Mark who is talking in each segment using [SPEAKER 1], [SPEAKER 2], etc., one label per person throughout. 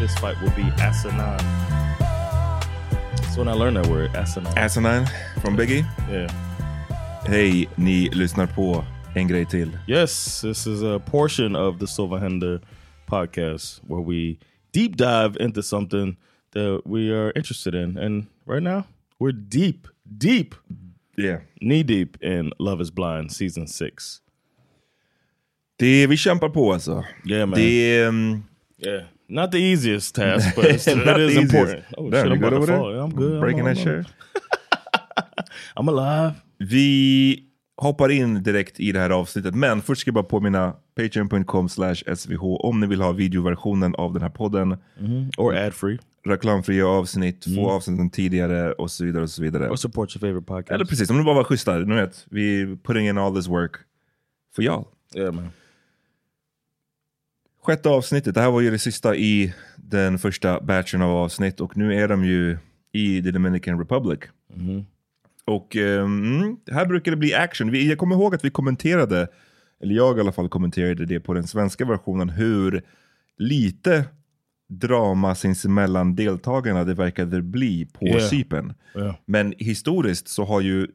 [SPEAKER 1] This fight will be asinine. That's when I learned that word, asinine.
[SPEAKER 2] Asinine från Biggie.
[SPEAKER 1] yeah.
[SPEAKER 2] Hej, ni lyssnar på en grej till.
[SPEAKER 1] Yes, this is a portion of the Silverhander podcast where we deep dive into something that we are interested in. And right now, we're deep, deep,
[SPEAKER 2] Yeah.
[SPEAKER 1] knee deep in Love is Blind season six.
[SPEAKER 2] Det vi kämpar på alltså.
[SPEAKER 1] Yeah, man.
[SPEAKER 2] Det är... mm,
[SPEAKER 1] yeah. Not the easiest task, but it's, it
[SPEAKER 2] not
[SPEAKER 1] is
[SPEAKER 2] the
[SPEAKER 1] important.
[SPEAKER 2] easiest.
[SPEAKER 1] Oh,
[SPEAKER 2] Damn,
[SPEAKER 1] shit,
[SPEAKER 2] you
[SPEAKER 1] I'm
[SPEAKER 2] good
[SPEAKER 1] about to
[SPEAKER 2] over there?
[SPEAKER 1] fall. Yeah, I'm good. I'm-
[SPEAKER 2] Breaking
[SPEAKER 1] I'm,
[SPEAKER 2] that
[SPEAKER 1] I'm,
[SPEAKER 2] shit.
[SPEAKER 1] I'm alive.
[SPEAKER 2] Vi hoppar in direkt i det här avsnittet, men först ska jag bara påminna patreon.com slash svh om ni vill ha videoversionen av den här podden.
[SPEAKER 1] Mm-hmm. Or ad free.
[SPEAKER 2] Reklamfria avsnitt, få avsnitten tidigare och så vidare och så vidare.
[SPEAKER 1] Or support your favorite podcast.
[SPEAKER 2] Eller precis, om ni bara var schyssta. Ni vet, vi putting in all this work för y'all.
[SPEAKER 1] Yeah, man.
[SPEAKER 2] Sjätte avsnittet, det här var ju det sista i den första batchen av avsnitt och nu är de ju i the Dominican Republic.
[SPEAKER 1] Mm-hmm.
[SPEAKER 2] Och eh, mm, här brukar det bli action. Vi, jag kommer ihåg att vi kommenterade, eller jag i alla fall kommenterade det på den svenska versionen, hur lite drama sinsemellan deltagarna det verkade bli på
[SPEAKER 1] Yeah.
[SPEAKER 2] Cypern.
[SPEAKER 1] Yeah.
[SPEAKER 2] Men historiskt så har ju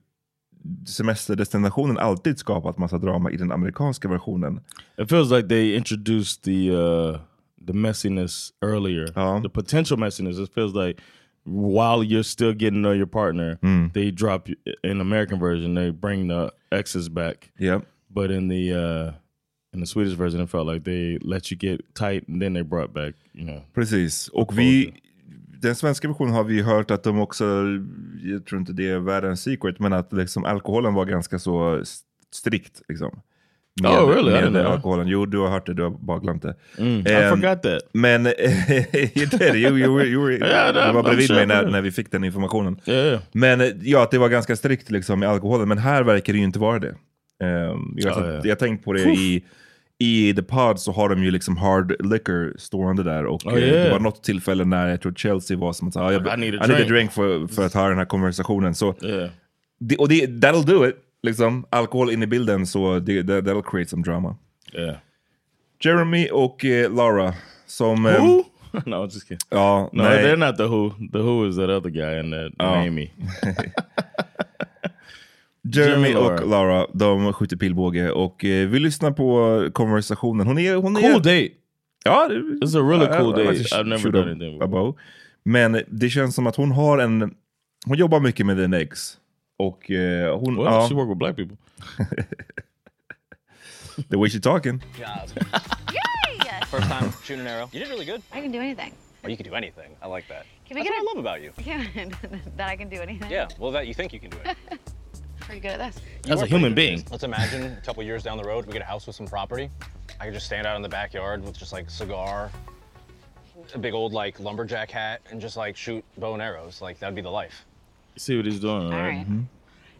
[SPEAKER 2] semesterdestinationen alltid skapat massa drama i den amerikanska versionen.
[SPEAKER 1] It feels like they introduced the uh, the messiness earlier,
[SPEAKER 2] Ja.
[SPEAKER 1] the potential messiness. It feels like while you're still getting to know your partner,
[SPEAKER 2] Hmm.
[SPEAKER 1] they drop in American version they bring the exes back,
[SPEAKER 2] Yep.
[SPEAKER 1] but in the uh, In the Swedish version, it felt like they let you get tight and then they brought back, you know.
[SPEAKER 2] Precis. Och vi, den svenska versionen har vi hört att de också, jag tror inte det är världens secret, men att liksom alkoholen var ganska så st- strikt. Liksom. Med,
[SPEAKER 1] Oh, really? I didn't
[SPEAKER 2] Med
[SPEAKER 1] know. Mm.
[SPEAKER 2] alkoholen. Jo, du har hört det, du har bara glömt det.
[SPEAKER 1] I
[SPEAKER 2] Ehm,
[SPEAKER 1] forgot that.
[SPEAKER 2] Men you did, you, you were, you were,
[SPEAKER 1] Ja,
[SPEAKER 2] du var
[SPEAKER 1] I'm
[SPEAKER 2] bredvid
[SPEAKER 1] sure.
[SPEAKER 2] mig när, när vi fick den informationen.
[SPEAKER 1] Yeah, yeah.
[SPEAKER 2] Men eh, ja, att det var ganska strikt liksom, med alkoholen, men här verkar det ju inte vara det. Ehm, jag,
[SPEAKER 1] Ja, ja.
[SPEAKER 2] jag har tänkt på det i, i The Pod så har de ju liksom hard liquor stående där och
[SPEAKER 1] Oh,
[SPEAKER 2] eh,
[SPEAKER 1] yeah.
[SPEAKER 2] det var något tillfälle när jag tror Chelsea var som att säga, ah, jag,
[SPEAKER 1] I need a
[SPEAKER 2] I need a
[SPEAKER 1] drink."
[SPEAKER 2] drink för, för att ha den här konversationen. Så,
[SPEAKER 1] Yeah.
[SPEAKER 2] det, och det, that'll do it, liksom. Alkohol in i bilden, så det, that, that'll create some drama.
[SPEAKER 1] Yeah.
[SPEAKER 2] Jeremy och eh, Laura som... ehm,
[SPEAKER 1] Who? no, I'm just kidding.
[SPEAKER 2] Ja,
[SPEAKER 1] No,
[SPEAKER 2] nej.
[SPEAKER 1] they're not the Who. The Who is that other guy and that and Amy.
[SPEAKER 2] Jeremy
[SPEAKER 1] Jeremy
[SPEAKER 2] och
[SPEAKER 1] Laura.
[SPEAKER 2] Laura, de skjuter pilbåge och eh, vi lyssnar på konversationen. Hon är... Hon är
[SPEAKER 1] Cool date.
[SPEAKER 2] Ja, det,
[SPEAKER 1] It's a really
[SPEAKER 2] I-
[SPEAKER 1] cool
[SPEAKER 2] I- I
[SPEAKER 1] date.
[SPEAKER 2] just
[SPEAKER 1] I've never
[SPEAKER 2] shoot
[SPEAKER 1] done
[SPEAKER 2] a-
[SPEAKER 1] anything
[SPEAKER 2] a
[SPEAKER 1] before.
[SPEAKER 2] bow. Men det känns som att hon har en... Hon jobbar mycket med den ex. Och eh, hon...
[SPEAKER 1] Well,
[SPEAKER 2] ja,
[SPEAKER 1] she worked with black people.
[SPEAKER 2] the way she talking.
[SPEAKER 3] First time shooting an arrow. You did really good.
[SPEAKER 4] I can do anything.
[SPEAKER 3] Well, you can do anything. I like that.
[SPEAKER 4] Can we
[SPEAKER 3] That's
[SPEAKER 4] get
[SPEAKER 3] what I
[SPEAKER 4] a-
[SPEAKER 3] love about you.
[SPEAKER 4] that I can do anything.
[SPEAKER 3] Yeah. Well, that you think you can do it.
[SPEAKER 4] Are you good at this?
[SPEAKER 3] You
[SPEAKER 1] As a
[SPEAKER 3] are pretty
[SPEAKER 1] human
[SPEAKER 3] good at
[SPEAKER 1] being.
[SPEAKER 3] this. Let's imagine a couple years down the road, we get a house with some property. I could just stand out in the backyard with just like cigar, a big old like lumberjack hat, and just like shoot bow and arrows. Like that'd be the life.
[SPEAKER 1] You see what he's doing,
[SPEAKER 4] All
[SPEAKER 1] right?
[SPEAKER 4] right.
[SPEAKER 2] Mm-hmm.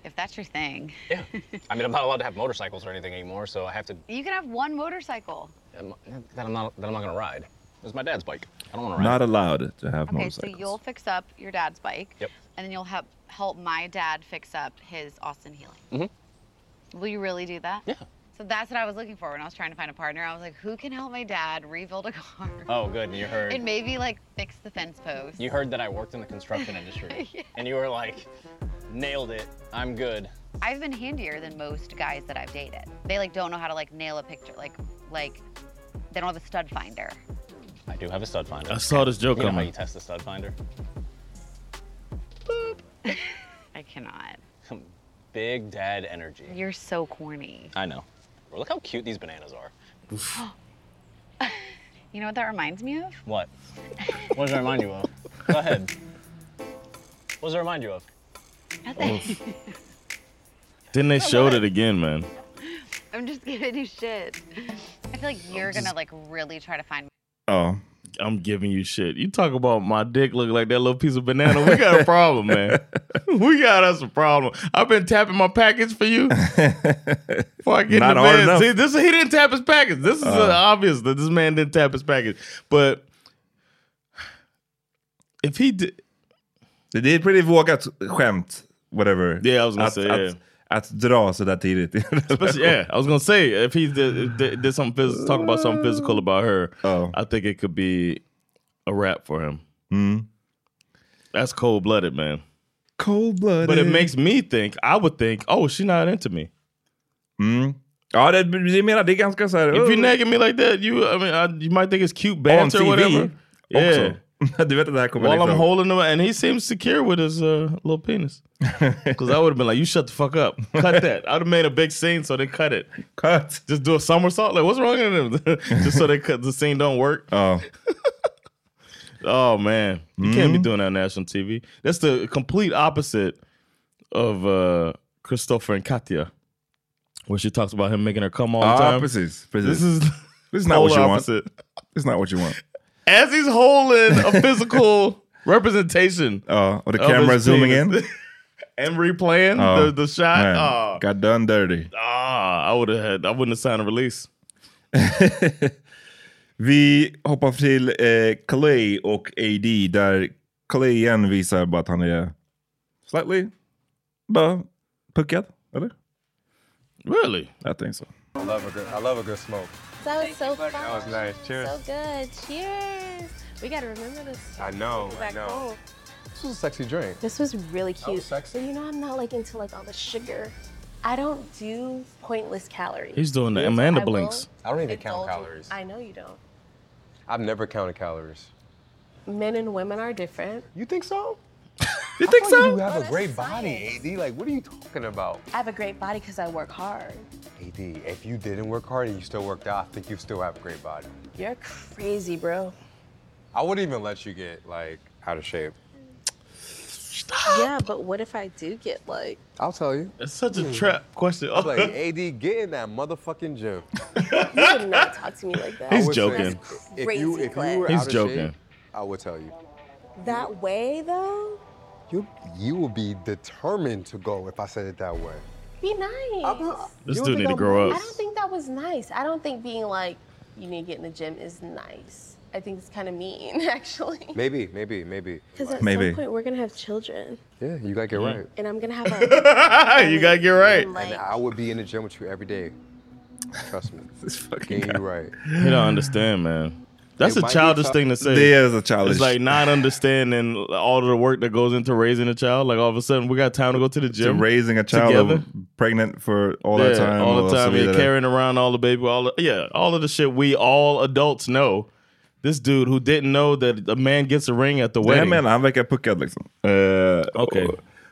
[SPEAKER 4] If that's your thing,
[SPEAKER 3] Yeah. I mean, I'm not allowed to have motorcycles or anything anymore, so I have to.
[SPEAKER 4] you can have one motorcycle.
[SPEAKER 3] I'm, that I'm not. That I'm not gonna ride. It's my dad's bike. I don't want to ride.
[SPEAKER 2] Not allowed to have
[SPEAKER 4] Okay, so
[SPEAKER 2] motorcycles.
[SPEAKER 4] you'll fix up your dad's bike.
[SPEAKER 3] Yep.
[SPEAKER 4] And then you'll help help my dad fix up his Austin Healing. Mm-hmm. Will you really do that? Yeah. So that's what I was looking for when I was trying to find a partner. I was like, who can help my dad rebuild a car?
[SPEAKER 3] Oh, good. You heard.
[SPEAKER 4] And maybe like fix the fence post.
[SPEAKER 3] You heard that I worked in the construction industry, and you were like, nailed it. I'm good.
[SPEAKER 4] I've been handier than most guys that I've dated. They like don't know how to like nail a picture. Like like they don't have a stud finder.
[SPEAKER 3] I do have a stud finder.
[SPEAKER 1] I saw this joke
[SPEAKER 3] You know how
[SPEAKER 1] coming.
[SPEAKER 3] you test the stud finder?
[SPEAKER 4] I cannot.
[SPEAKER 3] Big dad energy.
[SPEAKER 4] You're so corny.
[SPEAKER 3] I know. Well, look how cute these bananas are.
[SPEAKER 4] You know what that reminds me of?
[SPEAKER 3] What? what does it remind you of? Go ahead. What does it remind you of?
[SPEAKER 4] Nothing.
[SPEAKER 1] Then they showed it again, man.
[SPEAKER 4] I'm just giving you shit. I feel like you're gonna like really try to find
[SPEAKER 2] Ja.
[SPEAKER 1] I'm giving you shit. You talk about my dick look like that little piece of banana. We got a problem, man. We got us a problem. I've been tapping my package for you. Before I get
[SPEAKER 2] Not
[SPEAKER 1] in the
[SPEAKER 2] hard
[SPEAKER 1] bed.
[SPEAKER 2] enough. Oh.
[SPEAKER 1] See, this he didn't tap his package. This is uh, obvious that this man didn't tap his package. But if he did,
[SPEAKER 2] Det, det är ett pretty vågat skämt, whatever.
[SPEAKER 1] Yeah, I was gonna
[SPEAKER 2] att,
[SPEAKER 1] say,
[SPEAKER 2] att,
[SPEAKER 1] yeah.
[SPEAKER 2] att dra sådär tidigt.
[SPEAKER 1] especially, yeah, I was gonna say if he did, did, did something phys- talk about something physical about her,
[SPEAKER 2] Oh.
[SPEAKER 1] I think it could be a wrap for him. That's cold blooded, man.
[SPEAKER 2] Cold blooded.
[SPEAKER 1] But it makes me think. I would think, oh, she's not into me. Hmm. Oh,
[SPEAKER 2] Ja, det, det, menar, det är ganska såhär...
[SPEAKER 1] If you're nagging me like that, you, I mean, I, you might think it's cute
[SPEAKER 2] on
[SPEAKER 1] banter or
[SPEAKER 2] TV
[SPEAKER 1] whatever. Yeah.
[SPEAKER 2] också. du vet att det här kommer
[SPEAKER 1] While I'm
[SPEAKER 2] liksom...
[SPEAKER 1] holding him, and he seems secure with his uh, little penis. Because I would have been like, you shut the fuck up. Cut that. I would have made a big scene so they cut it.
[SPEAKER 2] Cut!
[SPEAKER 1] Just do a somersault. Like, what's wrong with him? Just so they cut the scene don't work.
[SPEAKER 2] Ja.
[SPEAKER 1] Oh man, you can't
[SPEAKER 2] Mm-hmm.
[SPEAKER 1] be doing that on national TV. That's the complete opposite of uh Christopher and Katya, where she talks about him making her come all the
[SPEAKER 2] Ja,
[SPEAKER 1] time.
[SPEAKER 2] precis. precis.
[SPEAKER 1] This is
[SPEAKER 2] This is not what
[SPEAKER 1] polar
[SPEAKER 2] you want.
[SPEAKER 1] opposite.
[SPEAKER 2] It's not what you want.
[SPEAKER 1] As he's holding a physical representation
[SPEAKER 2] Ja, och Oh, the
[SPEAKER 1] of
[SPEAKER 2] camera
[SPEAKER 1] his
[SPEAKER 2] zooming in.
[SPEAKER 1] penis and replaying
[SPEAKER 2] Ja.
[SPEAKER 1] the, the shot.
[SPEAKER 2] Oh, Man,
[SPEAKER 1] Ah,
[SPEAKER 2] Got done dirty.
[SPEAKER 1] ah, I would have had. I wouldn't have signed a release.
[SPEAKER 2] Vi hoppar till eh, Clay och AD där Clay igen visar bara att han är slightly bara puckad. Eller?
[SPEAKER 1] Really?
[SPEAKER 2] Jag think so.
[SPEAKER 5] That was so fun. That was nice. Cheers. So good. Cheers. We gotta remember this. I
[SPEAKER 6] Oh,
[SPEAKER 5] know. I know. This was a sexy drink. This was really cute. sexy. you know, I'm not like into like all the sugar. I don't do pointless calories.
[SPEAKER 1] He's doing the
[SPEAKER 5] Yes,
[SPEAKER 1] Amanda
[SPEAKER 5] I will
[SPEAKER 1] blinks.
[SPEAKER 6] I don't even count
[SPEAKER 5] indulge in-
[SPEAKER 6] calories.
[SPEAKER 5] I know you don't.
[SPEAKER 6] I've never counted calories.
[SPEAKER 5] Men and women are different.
[SPEAKER 6] You think so?
[SPEAKER 1] You think
[SPEAKER 6] I thought
[SPEAKER 1] so?
[SPEAKER 6] You have a
[SPEAKER 5] that's
[SPEAKER 6] great
[SPEAKER 5] science.
[SPEAKER 6] body, AD. Like, what are you talking about?
[SPEAKER 5] I have a great body because I work hard.
[SPEAKER 6] AD, if you didn't work hard and you still worked out, I think you still have a great body.
[SPEAKER 7] You're crazy, bro.
[SPEAKER 6] I wouldn't even let you get like out of shape.
[SPEAKER 7] Yeah, but what if I do get like?
[SPEAKER 6] I'll tell you.
[SPEAKER 1] It's such a trap question.
[SPEAKER 6] I'm like, AD, get in that motherfucking gym.
[SPEAKER 7] You would not talk to me like that.
[SPEAKER 6] I would say
[SPEAKER 1] joking.
[SPEAKER 6] If you,
[SPEAKER 7] Crazy,
[SPEAKER 6] if
[SPEAKER 7] Clay.
[SPEAKER 6] you were
[SPEAKER 1] He's
[SPEAKER 6] out of
[SPEAKER 1] joking.
[SPEAKER 6] shape, I would tell you.
[SPEAKER 7] That way though,
[SPEAKER 6] You you will be determined to go if I said it that way.
[SPEAKER 5] Be nice.
[SPEAKER 1] This
[SPEAKER 6] You
[SPEAKER 1] dude
[SPEAKER 6] don't think
[SPEAKER 1] need to
[SPEAKER 6] I'm-
[SPEAKER 1] grow
[SPEAKER 5] I
[SPEAKER 1] up.
[SPEAKER 5] don't think that was nice. I don't think being like, you need to get in the gym is nice. I think it's kind of mean, actually.
[SPEAKER 6] Maybe, maybe, maybe.
[SPEAKER 5] Because at
[SPEAKER 2] Maybe.
[SPEAKER 5] some point, we're going to have children.
[SPEAKER 6] Yeah, you gotta get right.
[SPEAKER 5] And I'm going to have a.
[SPEAKER 1] you gotta get right.
[SPEAKER 5] Like,
[SPEAKER 6] And I would be in the gym with you every day. Trust me.
[SPEAKER 2] This fucking
[SPEAKER 6] Getting
[SPEAKER 2] guy.
[SPEAKER 6] you right.
[SPEAKER 1] He don't understand, man. That's
[SPEAKER 6] It
[SPEAKER 1] a
[SPEAKER 6] might be
[SPEAKER 1] childish
[SPEAKER 6] tough.
[SPEAKER 1] thing to say.
[SPEAKER 2] There is a childish.
[SPEAKER 1] It's like not understanding all of the work that goes into raising a child. Like all of a sudden, we got time to go to the
[SPEAKER 2] to
[SPEAKER 1] gym.
[SPEAKER 2] raising a child
[SPEAKER 1] together.
[SPEAKER 2] pregnant for all that time. uh,
[SPEAKER 1] all
[SPEAKER 2] och
[SPEAKER 1] the
[SPEAKER 2] så
[SPEAKER 1] time, yeah,
[SPEAKER 2] vidare.
[SPEAKER 1] carrying around all the baby, all the, yeah, all of the shit we all adults know. This dude who didn't know that a man gets a ring at the
[SPEAKER 2] Det jag
[SPEAKER 1] wedding.
[SPEAKER 2] menar, han verkar puckad liksom. Eh,
[SPEAKER 1] Okej.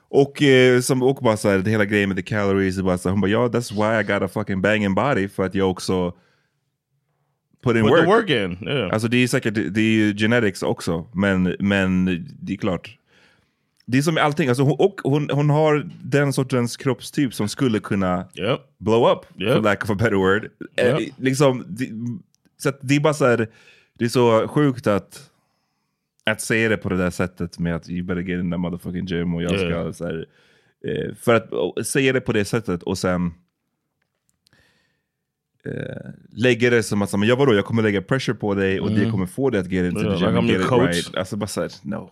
[SPEAKER 2] och, och, eh, som, och bara så här, det hela grejen med the calories, det bara så här, hon bara ja, that's why I got a fucking banging body, för att jag också put in
[SPEAKER 1] Put
[SPEAKER 2] work.
[SPEAKER 1] the work in. Yeah.
[SPEAKER 2] Alltså det är ju säkert, det är ju genetics också, men, men det är klart. Det är som med allting, alltså, hon, och hon, hon har den sortens kroppstyp som skulle kunna
[SPEAKER 1] Yep.
[SPEAKER 2] blow up,
[SPEAKER 1] Yep.
[SPEAKER 2] for lack of a better word. Eh,
[SPEAKER 1] Yep.
[SPEAKER 2] Liksom, det, så att det är bara så här, det är så sjukt att, att säga det på det där sättet med att you better get in that motherfucking gym och jag
[SPEAKER 1] Ja,
[SPEAKER 2] ska
[SPEAKER 1] ja.
[SPEAKER 2] så här, eh, För att och, säga det på det sättet och sen eh, lägga det som att, så här, men jag vadå, jag kommer lägga pressure på dig och
[SPEAKER 1] Mm.
[SPEAKER 2] det kommer få dig att get into
[SPEAKER 1] Ja,
[SPEAKER 2] the
[SPEAKER 1] like
[SPEAKER 2] gym
[SPEAKER 1] I'm
[SPEAKER 2] and
[SPEAKER 1] your
[SPEAKER 2] get it
[SPEAKER 1] coach.
[SPEAKER 2] right. Alltså bara såhär, no.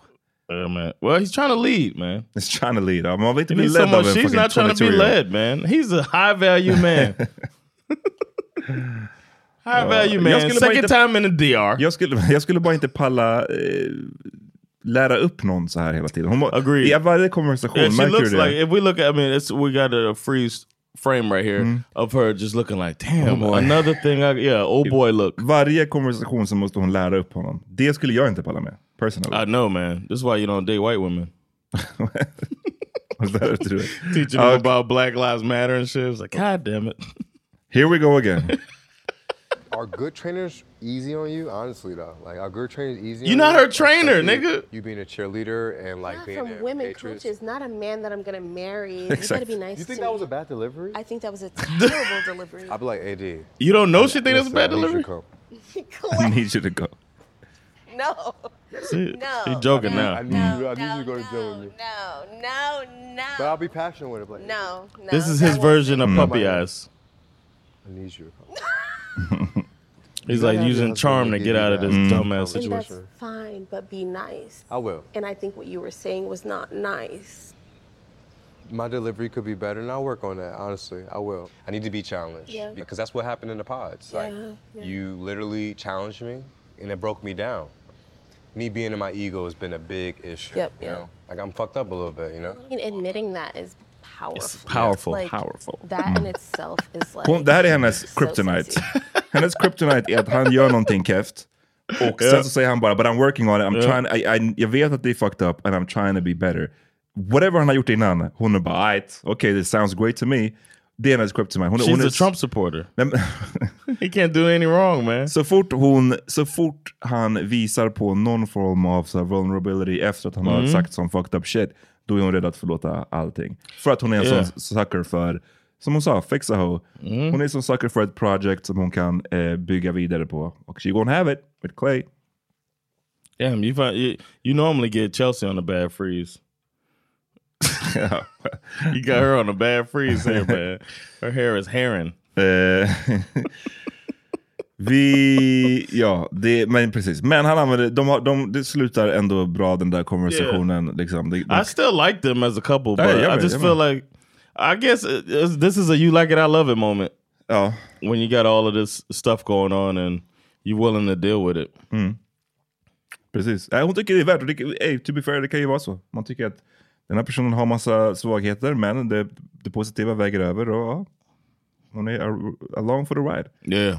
[SPEAKER 1] Yeah, man. Well, he's trying to lead, man.
[SPEAKER 2] It's trying to lead. Man vill inte
[SPEAKER 1] He
[SPEAKER 2] bli
[SPEAKER 1] needs
[SPEAKER 2] ledd
[SPEAKER 1] someone.
[SPEAKER 2] av en
[SPEAKER 1] She's
[SPEAKER 2] fucking
[SPEAKER 1] not trying to be
[SPEAKER 2] 22-year-old.
[SPEAKER 1] led, man. He's a high value man.
[SPEAKER 2] Oh.
[SPEAKER 1] high value
[SPEAKER 2] jag
[SPEAKER 1] man.
[SPEAKER 2] skulle bara
[SPEAKER 1] Second
[SPEAKER 2] inte-
[SPEAKER 1] time in the DR.
[SPEAKER 2] Jag skulle, jag skulle bara inte palla eh, lära upp någon så här hela tiden. Hon må,
[SPEAKER 1] Agreed.
[SPEAKER 2] I varje konversation
[SPEAKER 1] Yeah, she
[SPEAKER 2] märker du
[SPEAKER 1] looks
[SPEAKER 2] det.
[SPEAKER 1] like if we look at I mean it's we got a freeze frame right here of her just looking like damn
[SPEAKER 2] Mm-hmm. Oh, boy.
[SPEAKER 1] another thing I, yeah old boy look
[SPEAKER 2] Varje konversation så måste hon lära upp honom. Det skulle jag inte palla med. Personally.
[SPEAKER 1] I know man this is why you don't date white women
[SPEAKER 2] Was that what you did?
[SPEAKER 1] teaching
[SPEAKER 2] Okay. Oh.
[SPEAKER 1] them about Black Lives Matter and shit it's like god damn it
[SPEAKER 2] Here we go again.
[SPEAKER 6] Are good trainers easy on you? Honestly though, like are good trainers easy?
[SPEAKER 1] You
[SPEAKER 6] on
[SPEAKER 1] not
[SPEAKER 6] you?
[SPEAKER 1] her trainer,
[SPEAKER 6] Especially
[SPEAKER 1] nigga.
[SPEAKER 6] You being a cheerleader and like
[SPEAKER 5] not
[SPEAKER 6] being
[SPEAKER 5] from
[SPEAKER 6] a
[SPEAKER 5] women
[SPEAKER 6] Patriots.
[SPEAKER 5] coaches, not a man that I'm going to marry. You got
[SPEAKER 2] Exactly.
[SPEAKER 5] to be nice
[SPEAKER 6] You think
[SPEAKER 5] to
[SPEAKER 6] that was
[SPEAKER 5] me.
[SPEAKER 6] a bad delivery?
[SPEAKER 5] I think that was a terrible delivery.
[SPEAKER 6] I'd be like, AD.
[SPEAKER 1] you don't know she think that's
[SPEAKER 6] listen,
[SPEAKER 1] a
[SPEAKER 6] I
[SPEAKER 1] bad
[SPEAKER 6] need you to
[SPEAKER 1] delivery
[SPEAKER 6] come.
[SPEAKER 2] I
[SPEAKER 5] Clay,
[SPEAKER 2] need you to go.
[SPEAKER 5] no.
[SPEAKER 1] she,
[SPEAKER 5] No.
[SPEAKER 1] she joking
[SPEAKER 5] No,
[SPEAKER 1] now
[SPEAKER 6] I need
[SPEAKER 2] Mm.
[SPEAKER 6] you. I need you to go to gym with me.
[SPEAKER 5] No, no, no.
[SPEAKER 6] But Mm. I'll be passionate with it. Like,
[SPEAKER 5] no, no.
[SPEAKER 1] this is
[SPEAKER 5] that
[SPEAKER 1] his
[SPEAKER 5] won't-
[SPEAKER 1] version of
[SPEAKER 2] Mm.
[SPEAKER 1] puppy eyes
[SPEAKER 6] I need you to come.
[SPEAKER 1] he's
[SPEAKER 6] You
[SPEAKER 1] like
[SPEAKER 6] gotta have your
[SPEAKER 1] using
[SPEAKER 6] husband
[SPEAKER 1] charm
[SPEAKER 6] to
[SPEAKER 1] to
[SPEAKER 6] give
[SPEAKER 1] get
[SPEAKER 6] you
[SPEAKER 1] out of
[SPEAKER 6] that.
[SPEAKER 1] this
[SPEAKER 2] Mm.
[SPEAKER 1] dumbass
[SPEAKER 5] And
[SPEAKER 1] situation
[SPEAKER 5] That's fine, but be nice.
[SPEAKER 6] I will.
[SPEAKER 5] And I think what you were saying was not nice.
[SPEAKER 6] My delivery could be better, and I'll work on that. Honestly, I will. I need to be challenged
[SPEAKER 5] Yeah.
[SPEAKER 6] because that's what happened in the pods. Like,
[SPEAKER 5] Yeah, yeah.
[SPEAKER 6] you literally challenged me, and it broke me down. Me being in my ego has been a big issue.
[SPEAKER 5] Yep,
[SPEAKER 6] You
[SPEAKER 5] yeah.
[SPEAKER 6] know, like I'm fucked up a little bit. You know.
[SPEAKER 5] I mean, admitting that is powerful.
[SPEAKER 1] powerful,
[SPEAKER 5] Like,
[SPEAKER 1] powerful.
[SPEAKER 5] That in itself is like.
[SPEAKER 2] Hon, det här är hennes
[SPEAKER 5] so
[SPEAKER 2] kryptonite.
[SPEAKER 5] sexy.
[SPEAKER 2] hennes kryptonite är att han gör någonting keft. Och sen så säger han bara, but I'm working on it. I'm trying, I, I, jag vet att det är fucked up and I'm trying to be better. Whatever han har gjort innan, hon är bara, alright, okay, this sounds great to me. Det är hennes kryptonite. Hon, hon
[SPEAKER 1] she's
[SPEAKER 2] är,
[SPEAKER 1] a Trump supporter
[SPEAKER 2] Nej, men-
[SPEAKER 1] he can't do any wrong man
[SPEAKER 2] Så fort, hon, så fort han visar på någon form av så här vulnerability efter att han har
[SPEAKER 1] Mm.
[SPEAKER 2] sagt sån fucked up shit, då är hon rädd att förlåta allting. För att hon är en
[SPEAKER 1] Yeah. Mm.
[SPEAKER 2] sån sucker för, som hon sa, fixa ho. Hon är en sån sucker för ett project som hon kan eh, bygga vidare på. Och she gonna have it with Clay.
[SPEAKER 1] damn you find you, you normally get Chelsea on a bad freeze You got her on a bad freeze hair, man. Her hair is herring.
[SPEAKER 2] Eh, Vi, ja, det, men precis. Men han använder, de, har, de, det slutar ändå bra den där konversationen. Liksom. De, de,
[SPEAKER 1] I still like them as a couple, but
[SPEAKER 2] yeah,
[SPEAKER 1] I
[SPEAKER 2] man,
[SPEAKER 1] just
[SPEAKER 2] yeah,
[SPEAKER 1] feel
[SPEAKER 2] man.
[SPEAKER 1] like I guess it, it's- this is a you like it, I love it moment
[SPEAKER 2] ja.
[SPEAKER 1] when you got all of this stuff going on and you're willing to deal with it.
[SPEAKER 2] mm. Precis. Nej, hon tycker det är värt och det. Ey, Typ, to be fair, det kan ju vara så. Man tycker att den här personen har massa svagheter, men det, det positiva väger över. Och, ja, hon är a- along for the ride.
[SPEAKER 1] Yeah.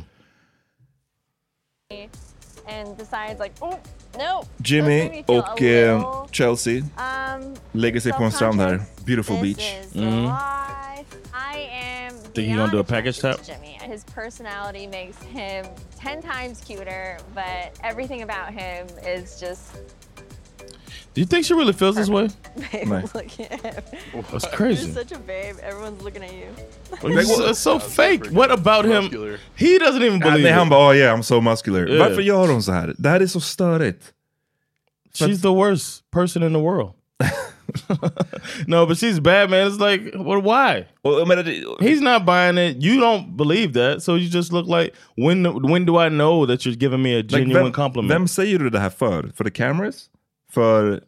[SPEAKER 8] and decides like, oh no. That's
[SPEAKER 2] Jimmy
[SPEAKER 8] making me feel
[SPEAKER 2] och
[SPEAKER 8] a
[SPEAKER 2] eh,
[SPEAKER 8] little,
[SPEAKER 2] Chelsea
[SPEAKER 8] um,
[SPEAKER 2] lägger sig på en strand här.
[SPEAKER 8] self-conscious.
[SPEAKER 2] Beautiful
[SPEAKER 8] This
[SPEAKER 2] beach.
[SPEAKER 8] is the life. I am
[SPEAKER 1] Mm. Think he gonna do a package tap?
[SPEAKER 8] Jimmy. His personality makes him 10 times cuter, but everything about him is just.
[SPEAKER 1] Do you think she really feels this way?
[SPEAKER 8] Babe,
[SPEAKER 1] Nice.
[SPEAKER 8] look at him.
[SPEAKER 1] That's crazy.
[SPEAKER 8] You're such a babe. Everyone's looking at you.
[SPEAKER 1] It's so- it's so fake. What about him? He doesn't even
[SPEAKER 2] Ja,
[SPEAKER 1] believe
[SPEAKER 2] nej,
[SPEAKER 1] it.
[SPEAKER 2] han bara oh yeah I'm so muscular.
[SPEAKER 1] Yeah.
[SPEAKER 2] Varför gör de så här? Det här är så störigt.
[SPEAKER 1] She's the worst person in the world. no, but she's bad, man. It's like, well, why? He's not buying it. You don't believe that, so you just look like when? When do I know that you're giving me a
[SPEAKER 2] Like,
[SPEAKER 1] genuine
[SPEAKER 2] vem,
[SPEAKER 1] compliment?
[SPEAKER 2] Vem säger du det här för? För the cameras? För...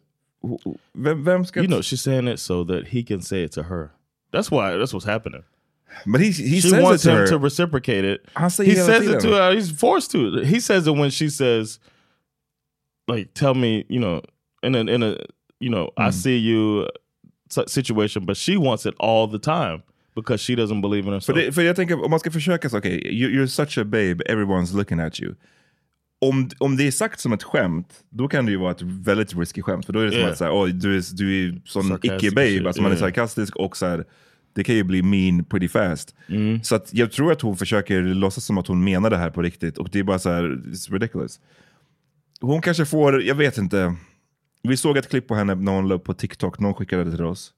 [SPEAKER 2] wh- Vem, vem ska...
[SPEAKER 1] You know, she's saying it so that he can say it to her. That's why. That's what's happening.
[SPEAKER 2] But he he
[SPEAKER 1] she
[SPEAKER 2] says
[SPEAKER 1] wants
[SPEAKER 2] it to
[SPEAKER 1] him
[SPEAKER 2] her.
[SPEAKER 1] to reciprocate it.
[SPEAKER 2] Han säger
[SPEAKER 1] he
[SPEAKER 2] hela
[SPEAKER 1] says
[SPEAKER 2] tiden.
[SPEAKER 1] it to her. He's forced to. He says it when she says, "Like, tell me, you know, in a in a you know, I
[SPEAKER 2] Mm.
[SPEAKER 1] see you s- situation." But she wants it all the time because she doesn't believe in
[SPEAKER 2] För,
[SPEAKER 1] herself.
[SPEAKER 2] det, för jag tänker, om man ska försöka så, okej, you, you're such a babe, everyone's looking at you. Om, om det är sagt som ett skämt, då kan det ju vara ett väldigt risky skämt. För då är det som
[SPEAKER 1] Yeah.
[SPEAKER 2] att så här, "Åh, du är, du är sån
[SPEAKER 1] Sarcastic shit,
[SPEAKER 2] icke-babe. Alltså man är
[SPEAKER 1] yeah.
[SPEAKER 2] sarkastisk och så här, det kan ju bli mean pretty fast.
[SPEAKER 1] Mm.
[SPEAKER 2] Så att jag tror att hon försöker låtsas som att hon menar det här på riktigt. Och det är bara så här, it's ridiculous. Hon kanske får, jag vet inte. Vi såg ett klipp på henne när hon la upp på TikTok, någon skickade det till oss.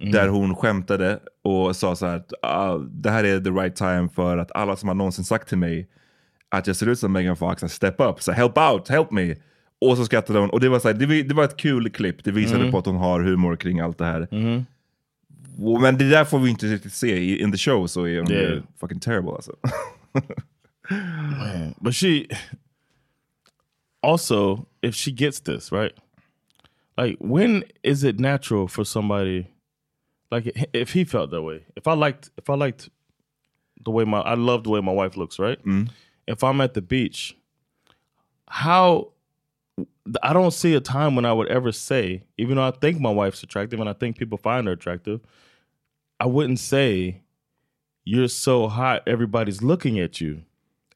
[SPEAKER 1] Mm.
[SPEAKER 2] Där hon skämtade och sa så här att "Ah, det här är the right time för att alla som har någonsin sagt till mig att jag ser ut som Megan Fox, att step up, så help out, help me. Och så skrattade hon och det var, så här, det, vi- det var ett kul klipp, det visade
[SPEAKER 1] Mm.
[SPEAKER 2] på att hon har humor kring allt det här. Och- Men det där får vi inte riktigt se i in the show så är hon ju
[SPEAKER 1] Yeah.
[SPEAKER 2] fucking terrible alltså.
[SPEAKER 1] Man, but she also, if she gets this right, like when is it natural for somebody, like if he felt that way, if I liked, if I liked the way my, I love the way my wife looks, right? If I'm at the beach, how I don't see a time when I would ever say, even though I think my wife's attractive and I think people find her attractive, I wouldn't say you're so hot, everybody's looking at you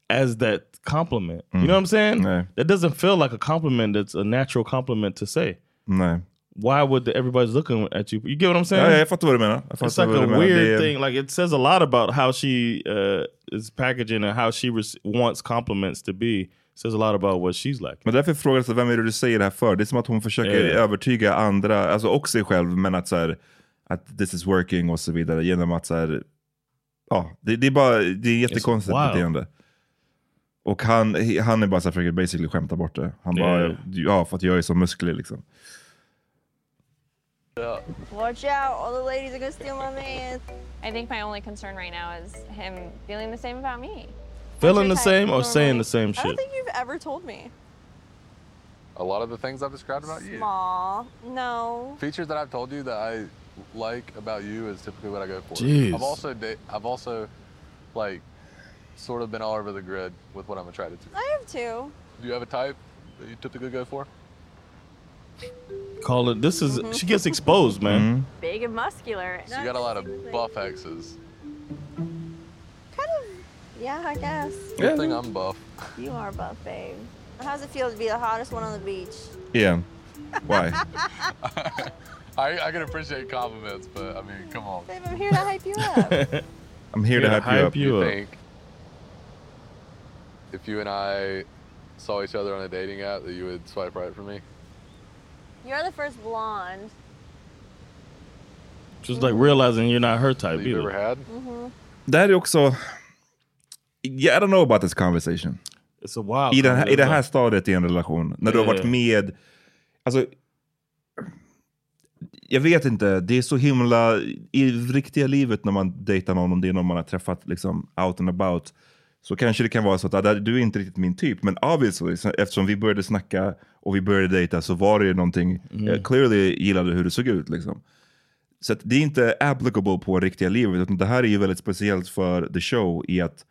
[SPEAKER 1] as that compliment. You know what I'm saying? That doesn't feel like a compliment that's a natural compliment to say.
[SPEAKER 2] Nej.
[SPEAKER 1] Why would the, everybody's looking at you? You get what I'm saying?
[SPEAKER 2] Ja, jag fattar vad du menar. Jag
[SPEAKER 1] It's
[SPEAKER 2] fattar
[SPEAKER 1] like
[SPEAKER 2] vad
[SPEAKER 1] a
[SPEAKER 2] du menar. Det
[SPEAKER 1] weird
[SPEAKER 2] är-
[SPEAKER 1] thing. Like it says a lot about how she uh, is packaging and how she res- wants compliments to be. says a lot about what she's like.
[SPEAKER 2] Men därför frågar jag så här, vem är det du säger det här för? Det är som att hon försöker
[SPEAKER 1] Ja, ja.
[SPEAKER 2] övertyga andra, alltså och sig själv, men att så här, att this is working och så vidare genom att så här, ja, det, det är bara, det är jättekonstigt
[SPEAKER 1] wild.
[SPEAKER 2] beteende. Och han, han är bara så här, försöker basically skämta bort det. Han
[SPEAKER 1] Ja,
[SPEAKER 2] bara,
[SPEAKER 1] ja.
[SPEAKER 2] ja för att jag är så musklig liksom.
[SPEAKER 8] Watch out, all the ladies are gonna steal my man. I think my only concern right now is him feeling the same about me.
[SPEAKER 1] Feeling the same or saying the same shit?
[SPEAKER 8] You've ever told me.
[SPEAKER 9] A lot of the things I've described about you.
[SPEAKER 8] Small. No.
[SPEAKER 9] Features that I've told you that I like about you is typically what I go for.
[SPEAKER 1] Jeez.
[SPEAKER 9] I've also da- I've also like sort of been all over the grid with what I'm attracted to.
[SPEAKER 8] I have two.
[SPEAKER 9] Do you have a type that you typically go for?
[SPEAKER 1] Call it. This is she gets exposed, man.
[SPEAKER 8] Big and muscular.
[SPEAKER 9] So you got a lot of buff exes.
[SPEAKER 8] Yeah, I guess.
[SPEAKER 9] Good thing I'm buff.
[SPEAKER 8] You are buff, babe. How's it feel to be the hottest one on the beach?
[SPEAKER 2] Yeah. Why?
[SPEAKER 9] I, I can appreciate compliments, but I mean, come on.
[SPEAKER 8] Babe, I'm here to hype you up.
[SPEAKER 2] I'm here to hype you up.
[SPEAKER 9] you think if you and I saw each other on a dating app that you would swipe right for me?
[SPEAKER 8] You're the first blonde.
[SPEAKER 1] Just like realizing you're not her type either.
[SPEAKER 7] Mm-hmm.
[SPEAKER 2] Det här är också, yeah, I don't know about this conversation.
[SPEAKER 1] It's a wild
[SPEAKER 2] I, den här, I det här
[SPEAKER 1] conversation.
[SPEAKER 2] stadiet i en relation, när du har varit
[SPEAKER 1] Yeah.
[SPEAKER 2] med, alltså, jag vet inte, det är så himla, i riktiga livet när man dejtar någon, om det är någon man har träffat liksom out and about, så kanske det kan vara så att ah, där- du är inte riktigt min typ, men obviously, så- eftersom vi började snacka och vi började dejta så var det ju någonting, jag clearly gillade hur du såg ut liksom. Så att det är inte applicable på riktiga livet, utan det här är ju väldigt speciellt för the show i att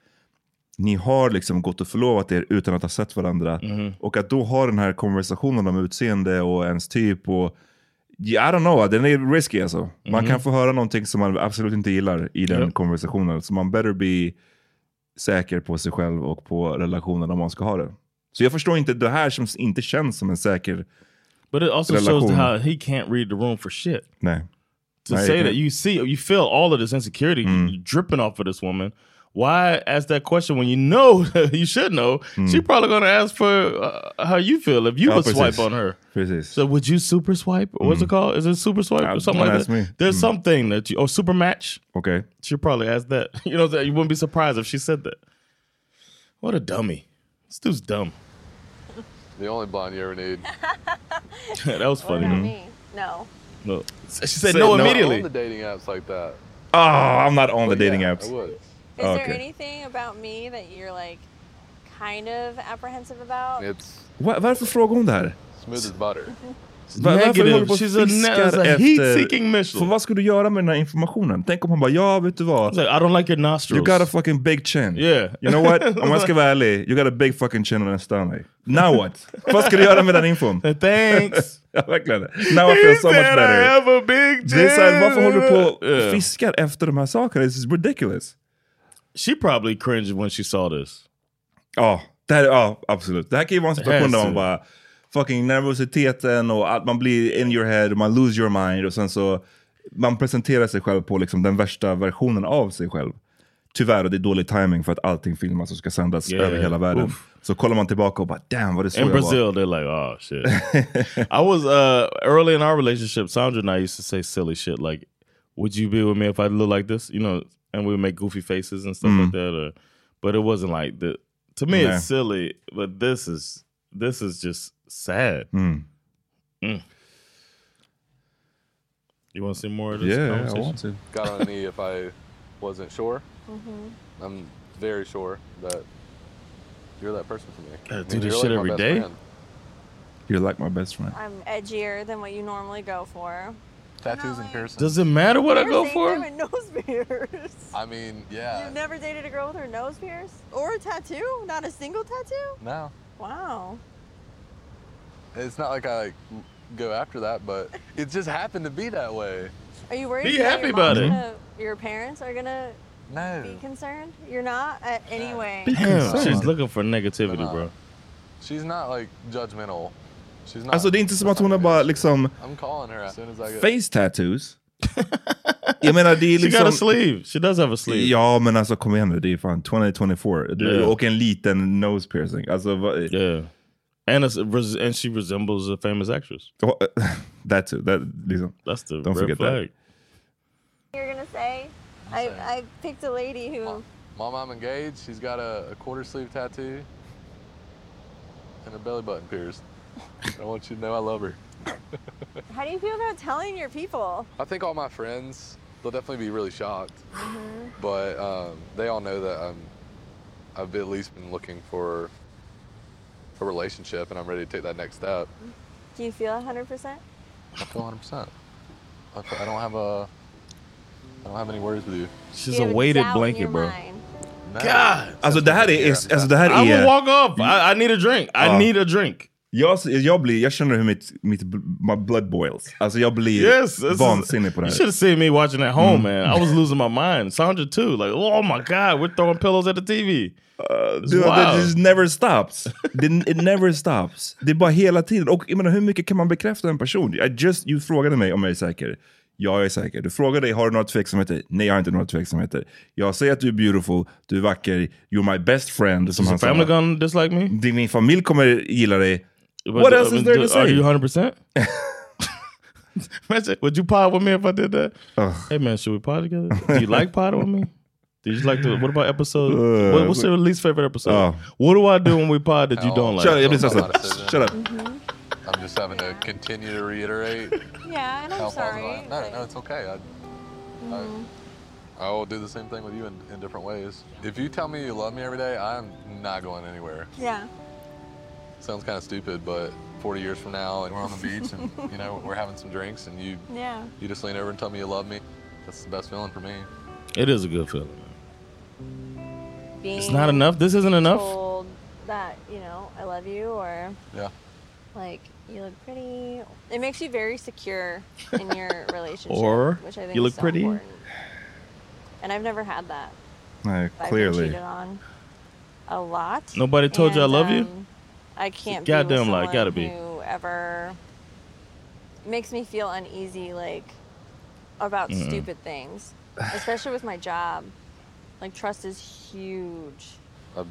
[SPEAKER 2] ni har liksom gått och förlovat er utan att ha sett varandra.
[SPEAKER 1] Mm. Mm-hmm.
[SPEAKER 2] Och att då ha den här konversationen om utseende och ens typ och Yeah, I don't know, den är risky alltså. Man
[SPEAKER 1] Mhm.
[SPEAKER 2] kan få höra någonting som man absolut inte gillar i den
[SPEAKER 1] Japp.
[SPEAKER 2] konversationen. Så man better be säker på sig själv och på relationen om man ska ha det. Så jag förstår inte det här som inte känns som en säker
[SPEAKER 1] But it also
[SPEAKER 2] relation.
[SPEAKER 1] shows how he can't read the room for shit.
[SPEAKER 2] Nej.
[SPEAKER 1] to
[SPEAKER 2] Right, Hmm.
[SPEAKER 1] say
[SPEAKER 2] yeah.
[SPEAKER 1] that you see you feel all of this insecurity dripping off of this woman why ask that question when you know you should know
[SPEAKER 2] Hmm.
[SPEAKER 1] she probably going to ask for uh, how you feel if you
[SPEAKER 2] Ja,
[SPEAKER 1] would
[SPEAKER 2] precis.
[SPEAKER 1] swipe on her
[SPEAKER 2] Precis.
[SPEAKER 1] so would you super swipe or what's it called is it super swipe or something
[SPEAKER 2] don't
[SPEAKER 1] like
[SPEAKER 2] Hmm. ask
[SPEAKER 1] that
[SPEAKER 2] me. Hmm.
[SPEAKER 1] there's something that you or super match
[SPEAKER 2] okay
[SPEAKER 1] she'll probably ask that you know that you wouldn't be surprised if she said that what a dummy this dude's dumb
[SPEAKER 9] The only blonde you ever need.
[SPEAKER 1] that was funny Mm-hmm.
[SPEAKER 7] No.
[SPEAKER 1] Look, she said no
[SPEAKER 9] On
[SPEAKER 1] immediately
[SPEAKER 9] the dating apps like that.
[SPEAKER 2] Oh, I'm not on the
[SPEAKER 9] Well,
[SPEAKER 2] dating
[SPEAKER 9] yeah, I
[SPEAKER 2] apps.
[SPEAKER 9] would.
[SPEAKER 7] Is
[SPEAKER 2] Oh,
[SPEAKER 7] there
[SPEAKER 2] okay.
[SPEAKER 7] anything about me that you're like kind of apprehensive about?
[SPEAKER 9] It's
[SPEAKER 2] Va- varför frågar hon det här?
[SPEAKER 9] smooth as butter.
[SPEAKER 2] Va- varför
[SPEAKER 1] Negative.
[SPEAKER 2] håller du på och
[SPEAKER 1] She's a-
[SPEAKER 2] fiskar
[SPEAKER 1] it's a heat-seeking
[SPEAKER 2] efter... För vad ska du göra med den här informationen? Tänk om han bara, ja vet du vad?
[SPEAKER 1] I don't like your nostrils.
[SPEAKER 2] You got a fucking big chin.
[SPEAKER 1] Yeah.
[SPEAKER 2] You know what? Om jag ska vara ärlig, you got a big fucking chin on Stanley. Now what? vad ska du göra med den infon?
[SPEAKER 1] Thanks.
[SPEAKER 2] ja, verkligen. Now I feel so much better. Det är såhär, varför håller du på och
[SPEAKER 1] Yeah.
[SPEAKER 2] fiskar efter de här sakerna? This is uh, ridiculous.
[SPEAKER 1] She probably cringed when she saw this.
[SPEAKER 2] Ja, det här, ja absolut. Det här kan ju vara en situation
[SPEAKER 1] Yes.
[SPEAKER 2] där man bara fucking nervositeten och att man blir in your head, man lose your mind och sen så man presenterar sig själv på liksom den värsta versionen av sig själv. Tyvärr, och det är dålig timing för att allting filmas och ska sändas
[SPEAKER 1] Yeah,
[SPEAKER 2] över hela världen.
[SPEAKER 1] oof.
[SPEAKER 2] Så kollar man tillbaka och bara damn vad det är så
[SPEAKER 1] In
[SPEAKER 2] jag
[SPEAKER 1] Brazil,
[SPEAKER 2] var.
[SPEAKER 1] they're like, oh shit. I was uh, early in our relationship. Sandra and I used to say silly shit like, "Would you be with me if I look like this?" You know, and we would make goofy faces and stuff
[SPEAKER 2] Mm.
[SPEAKER 1] like that. Or, but it wasn't like the. To me,
[SPEAKER 2] Yeah.
[SPEAKER 1] it's silly, but this is this is just sad.
[SPEAKER 2] Mm.
[SPEAKER 1] Mm. You want to see more of this?
[SPEAKER 2] Yeah, I
[SPEAKER 1] conversation?
[SPEAKER 2] want to.
[SPEAKER 9] Got on a knee if I wasn't sure.
[SPEAKER 7] Mhm.
[SPEAKER 9] I'm very sure that you're that person for me.
[SPEAKER 2] Gotta
[SPEAKER 9] I
[SPEAKER 2] do this
[SPEAKER 9] you're
[SPEAKER 2] shit
[SPEAKER 9] my
[SPEAKER 2] every
[SPEAKER 9] best
[SPEAKER 2] day?
[SPEAKER 9] friend.
[SPEAKER 2] You're like my best friend.
[SPEAKER 7] I'm edgier than what you normally go for.
[SPEAKER 9] Tattoos and piercings.
[SPEAKER 1] Does it matter what I go
[SPEAKER 7] Piercings,
[SPEAKER 1] for?
[SPEAKER 7] I'm a nose pierce.
[SPEAKER 9] I mean, yeah.
[SPEAKER 7] You've never dated a girl with her nose pierce or a tattoo? Not a single tattoo?
[SPEAKER 9] No,
[SPEAKER 7] Wow.
[SPEAKER 9] it's not like I like go after that, but it just happened to be that way.
[SPEAKER 7] Are you worried?
[SPEAKER 9] Be
[SPEAKER 7] that
[SPEAKER 9] happy
[SPEAKER 7] your
[SPEAKER 9] about
[SPEAKER 7] mom's
[SPEAKER 9] it.
[SPEAKER 7] Gonna, your parents are gonna be
[SPEAKER 9] No,
[SPEAKER 7] concerned. You're not uh, anyway.
[SPEAKER 1] Damn, she's looking for negativity, bro.
[SPEAKER 9] she's not like judgmental. She's not.
[SPEAKER 2] Alltså det är inte som att hon har bara liksom
[SPEAKER 9] I'm calling her as soon as I get.
[SPEAKER 2] face tattoos. Jag menar det är
[SPEAKER 1] She
[SPEAKER 2] liksom...
[SPEAKER 1] got a sleeve. She does have a sleeve.
[SPEAKER 2] Ja, men alltså kom igen nu. Det är fan 2024. Du-
[SPEAKER 1] Yeah.
[SPEAKER 2] Och en liten nose piercing. Alltså, vad-
[SPEAKER 1] Yeah. And, it's, and she resembles a famous actress.
[SPEAKER 2] eh, that too. That, liksom.
[SPEAKER 1] That's the
[SPEAKER 2] Don't
[SPEAKER 1] red
[SPEAKER 2] forget that.
[SPEAKER 1] flag.
[SPEAKER 7] You're gonna say, I, I picked a lady who.
[SPEAKER 9] Mom, I'm engaged. She's got a, a quarter sleeve tattoo and a belly button pierced. I want you to know I love her.
[SPEAKER 7] How do you feel about telling your people?
[SPEAKER 9] I think all my friends, they'll definitely be really shocked, but um, they all know that I'm, I've at least been looking for a relationship and I'm ready to take that next step.
[SPEAKER 7] Do you feel 100%?
[SPEAKER 9] I feel 100%. I feel- I don't have a, I don't have any words with you.
[SPEAKER 1] She's a weighted blanket, bro.
[SPEAKER 9] God.
[SPEAKER 2] Alltså det här är... Alltså, det här
[SPEAKER 1] I
[SPEAKER 2] är
[SPEAKER 1] will walk off. I, I need a drink. I
[SPEAKER 2] Ja.
[SPEAKER 1] need a drink.
[SPEAKER 2] jag, jag, blir, jag känner hur mitt, mitt bl- my blood boils. Alltså jag blir
[SPEAKER 1] Yes, this is-
[SPEAKER 2] vansinnig på det
[SPEAKER 1] You
[SPEAKER 2] här.
[SPEAKER 1] should have seen me watching at home,
[SPEAKER 2] Mm.
[SPEAKER 1] man. I was losing my mind. Sandra too. Like, oh my god, we're throwing pillows at the TV. It's
[SPEAKER 2] Uh, Dude,
[SPEAKER 1] wild.
[SPEAKER 2] It just never stops. Det- It never stops. Det är bara hela tiden. Och jag menar, hur mycket kan man bekräfta en person? I just, you frågade mig om jag är säker. Ja, jag är säker. Du frågade dig, har du några tveksamheter? Nej, jag har inte några tveksamheter. Jag säger att du är beautiful, du är vacker, you're my best friend. Som
[SPEAKER 1] Is
[SPEAKER 2] han
[SPEAKER 1] your family
[SPEAKER 2] sa.
[SPEAKER 1] gonna dislike me?
[SPEAKER 2] Din min familj kommer gilla dig.
[SPEAKER 1] But
[SPEAKER 2] What
[SPEAKER 1] the-
[SPEAKER 2] else is
[SPEAKER 1] but
[SPEAKER 2] there
[SPEAKER 1] the-
[SPEAKER 2] to
[SPEAKER 1] Are
[SPEAKER 2] say?
[SPEAKER 1] you 100%? Imagine, Would you pod with me if I did that? Hey man, should we pod together? Do you like pod with me? Did you like the? What about episode?
[SPEAKER 2] Uh, Oh.
[SPEAKER 1] what- what's your least favorite episode? What do I do when we pod that you don't like?
[SPEAKER 2] Shut up, yeah, please, Oh. shut up. Shut up.
[SPEAKER 7] Mm-hmm.
[SPEAKER 9] I'm just having to continue to reiterate.
[SPEAKER 7] Yeah, and I'm
[SPEAKER 9] how falls in
[SPEAKER 7] sorry,
[SPEAKER 9] line. No, no, it's okay. I, I, I will do the same thing with you in, in different ways. If you tell me you love me every day, I'm not going anywhere.
[SPEAKER 7] Yeah.
[SPEAKER 9] Sounds kind of stupid, but 40 years from now, and we're on the beach, and you know we're having some drinks, and you
[SPEAKER 7] Yeah.
[SPEAKER 9] you just lean over and tell me you love me. That's the best feeling for me.
[SPEAKER 1] It is a good feeling.
[SPEAKER 7] Being
[SPEAKER 1] It's not enough. This isn't enough.
[SPEAKER 7] Told that, you know, I love you or
[SPEAKER 9] Yeah.
[SPEAKER 7] like you look pretty. It makes you very secure in your relationship.
[SPEAKER 1] Or
[SPEAKER 7] which I think
[SPEAKER 1] you
[SPEAKER 7] is
[SPEAKER 1] look
[SPEAKER 7] so
[SPEAKER 1] pretty.
[SPEAKER 7] important. And I've never had that.
[SPEAKER 2] Nej,
[SPEAKER 7] I've been
[SPEAKER 2] clearly.
[SPEAKER 7] cheated on a lot.
[SPEAKER 1] Nobody told you I
[SPEAKER 7] And,
[SPEAKER 1] love you?
[SPEAKER 7] um, I can't. be
[SPEAKER 1] goddamn
[SPEAKER 7] with
[SPEAKER 1] lie.
[SPEAKER 7] someone
[SPEAKER 1] Gotta be.
[SPEAKER 7] Who ever makes me feel uneasy, like about
[SPEAKER 1] Mm-mm.
[SPEAKER 7] stupid things, especially with my job. Like trust is huge.
[SPEAKER 9] I've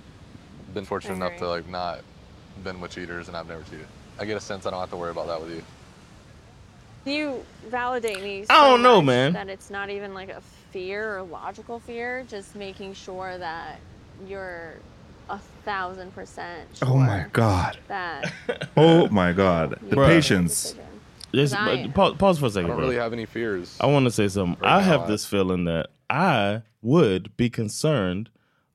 [SPEAKER 9] been fortunate enough to
[SPEAKER 7] Agree.
[SPEAKER 9] like not been with cheaters, and I've never cheated. I get a sense I don't have to worry about that with you.
[SPEAKER 7] You validate me.
[SPEAKER 9] I
[SPEAKER 7] so
[SPEAKER 9] don't know,
[SPEAKER 7] much
[SPEAKER 9] man.
[SPEAKER 7] That it's not even like a fear or logical fear, just making sure that you're a thousand percent.
[SPEAKER 2] Oh my
[SPEAKER 7] sure
[SPEAKER 2] god.
[SPEAKER 7] That
[SPEAKER 2] Oh my god. The
[SPEAKER 1] Bruh.
[SPEAKER 2] patience.
[SPEAKER 1] Just,
[SPEAKER 7] I am.
[SPEAKER 1] but pause, pause for a second.
[SPEAKER 9] I don't
[SPEAKER 1] bro.
[SPEAKER 9] really have any fears.
[SPEAKER 1] I want to say something.
[SPEAKER 9] Right
[SPEAKER 1] I
[SPEAKER 9] now,
[SPEAKER 1] have
[SPEAKER 9] I-
[SPEAKER 1] this feeling that I would be concerned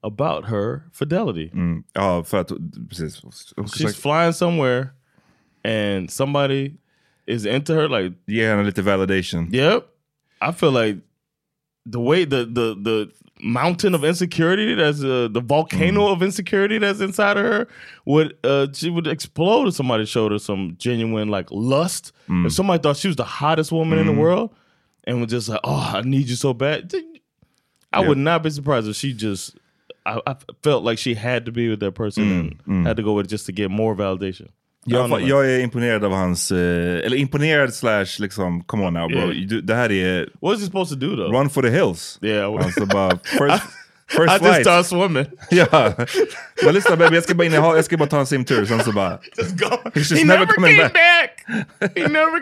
[SPEAKER 1] about her fidelity.
[SPEAKER 2] Ja, för att precis. Hon
[SPEAKER 1] She's flying somewhere and somebody is into her like
[SPEAKER 2] yeah, and a little validation.
[SPEAKER 1] Yep. I feel like the way the the the mountain of insecurity that's uh, the
[SPEAKER 2] Mm.
[SPEAKER 1] volcano of insecurity that's inside of her would uh she would explode if somebody showed her some genuine like lust.
[SPEAKER 2] Mm.
[SPEAKER 1] If somebody thought she was the hottest woman in the world and was just like, "Oh, I need you so bad." th- I
[SPEAKER 2] Yep.
[SPEAKER 1] would not be surprised if she just I, I felt like she had to be with that person and had to go with it just to get more validation.
[SPEAKER 2] Jag,
[SPEAKER 1] I don't know,
[SPEAKER 2] Mm, fa-
[SPEAKER 1] man.
[SPEAKER 2] jag är imponerad av hans, eh, eller imponerad slash liksom, come on now bro.
[SPEAKER 1] Yeah.
[SPEAKER 2] You do, det här är...
[SPEAKER 1] What is he supposed to do though?
[SPEAKER 2] Run for the hills.
[SPEAKER 1] Yeah.
[SPEAKER 2] Alltså bara, first, first
[SPEAKER 1] I just
[SPEAKER 2] flight.
[SPEAKER 1] start swimming.
[SPEAKER 2] Ja. Men lyssna baby, jag ska bara in i ha- jag ska bara ta en simtur, sen så bara...
[SPEAKER 1] Just go.
[SPEAKER 2] He's just
[SPEAKER 1] he
[SPEAKER 2] never
[SPEAKER 1] never
[SPEAKER 2] coming
[SPEAKER 1] came back. he never.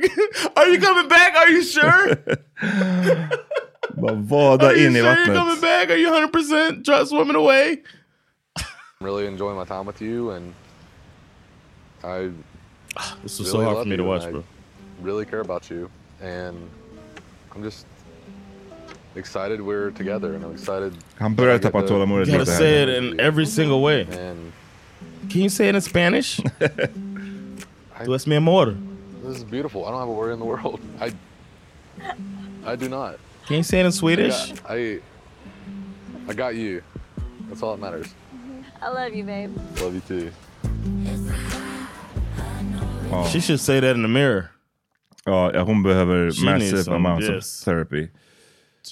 [SPEAKER 1] Are you coming back? Are you sure?
[SPEAKER 2] Bara
[SPEAKER 1] Are
[SPEAKER 2] vada
[SPEAKER 1] you
[SPEAKER 2] in i
[SPEAKER 1] sure you're
[SPEAKER 2] vattnet.
[SPEAKER 1] coming back? Are you hundred percent just swimming away?
[SPEAKER 9] I'm really enjoying my time with you, and I.
[SPEAKER 1] This was so hard for
[SPEAKER 9] love
[SPEAKER 1] me to
[SPEAKER 9] you,
[SPEAKER 1] watch,
[SPEAKER 9] and I
[SPEAKER 1] bro.
[SPEAKER 9] Really care about you, and I'm just excited we're together, and I'm excited.
[SPEAKER 2] Han börjar
[SPEAKER 9] that I get
[SPEAKER 2] tappa
[SPEAKER 9] to-
[SPEAKER 2] tålamodet
[SPEAKER 1] You gotta
[SPEAKER 2] lite
[SPEAKER 1] say
[SPEAKER 2] här.
[SPEAKER 1] it in every single way. Can you say it in Spanish? Tu es mi amor.
[SPEAKER 9] This is beautiful. I don't have a worry in the world. I. I do not.
[SPEAKER 1] Can you say it in
[SPEAKER 9] I,
[SPEAKER 1] Swedish?
[SPEAKER 9] got- I. I got you. That's all that matters.
[SPEAKER 7] I love you, babe.
[SPEAKER 9] Love you too.
[SPEAKER 1] She should say that in the mirror.
[SPEAKER 2] Ja, ja, hon behöver
[SPEAKER 1] She needs
[SPEAKER 2] massive
[SPEAKER 1] some,
[SPEAKER 2] amounts
[SPEAKER 1] yes.
[SPEAKER 2] of therapy.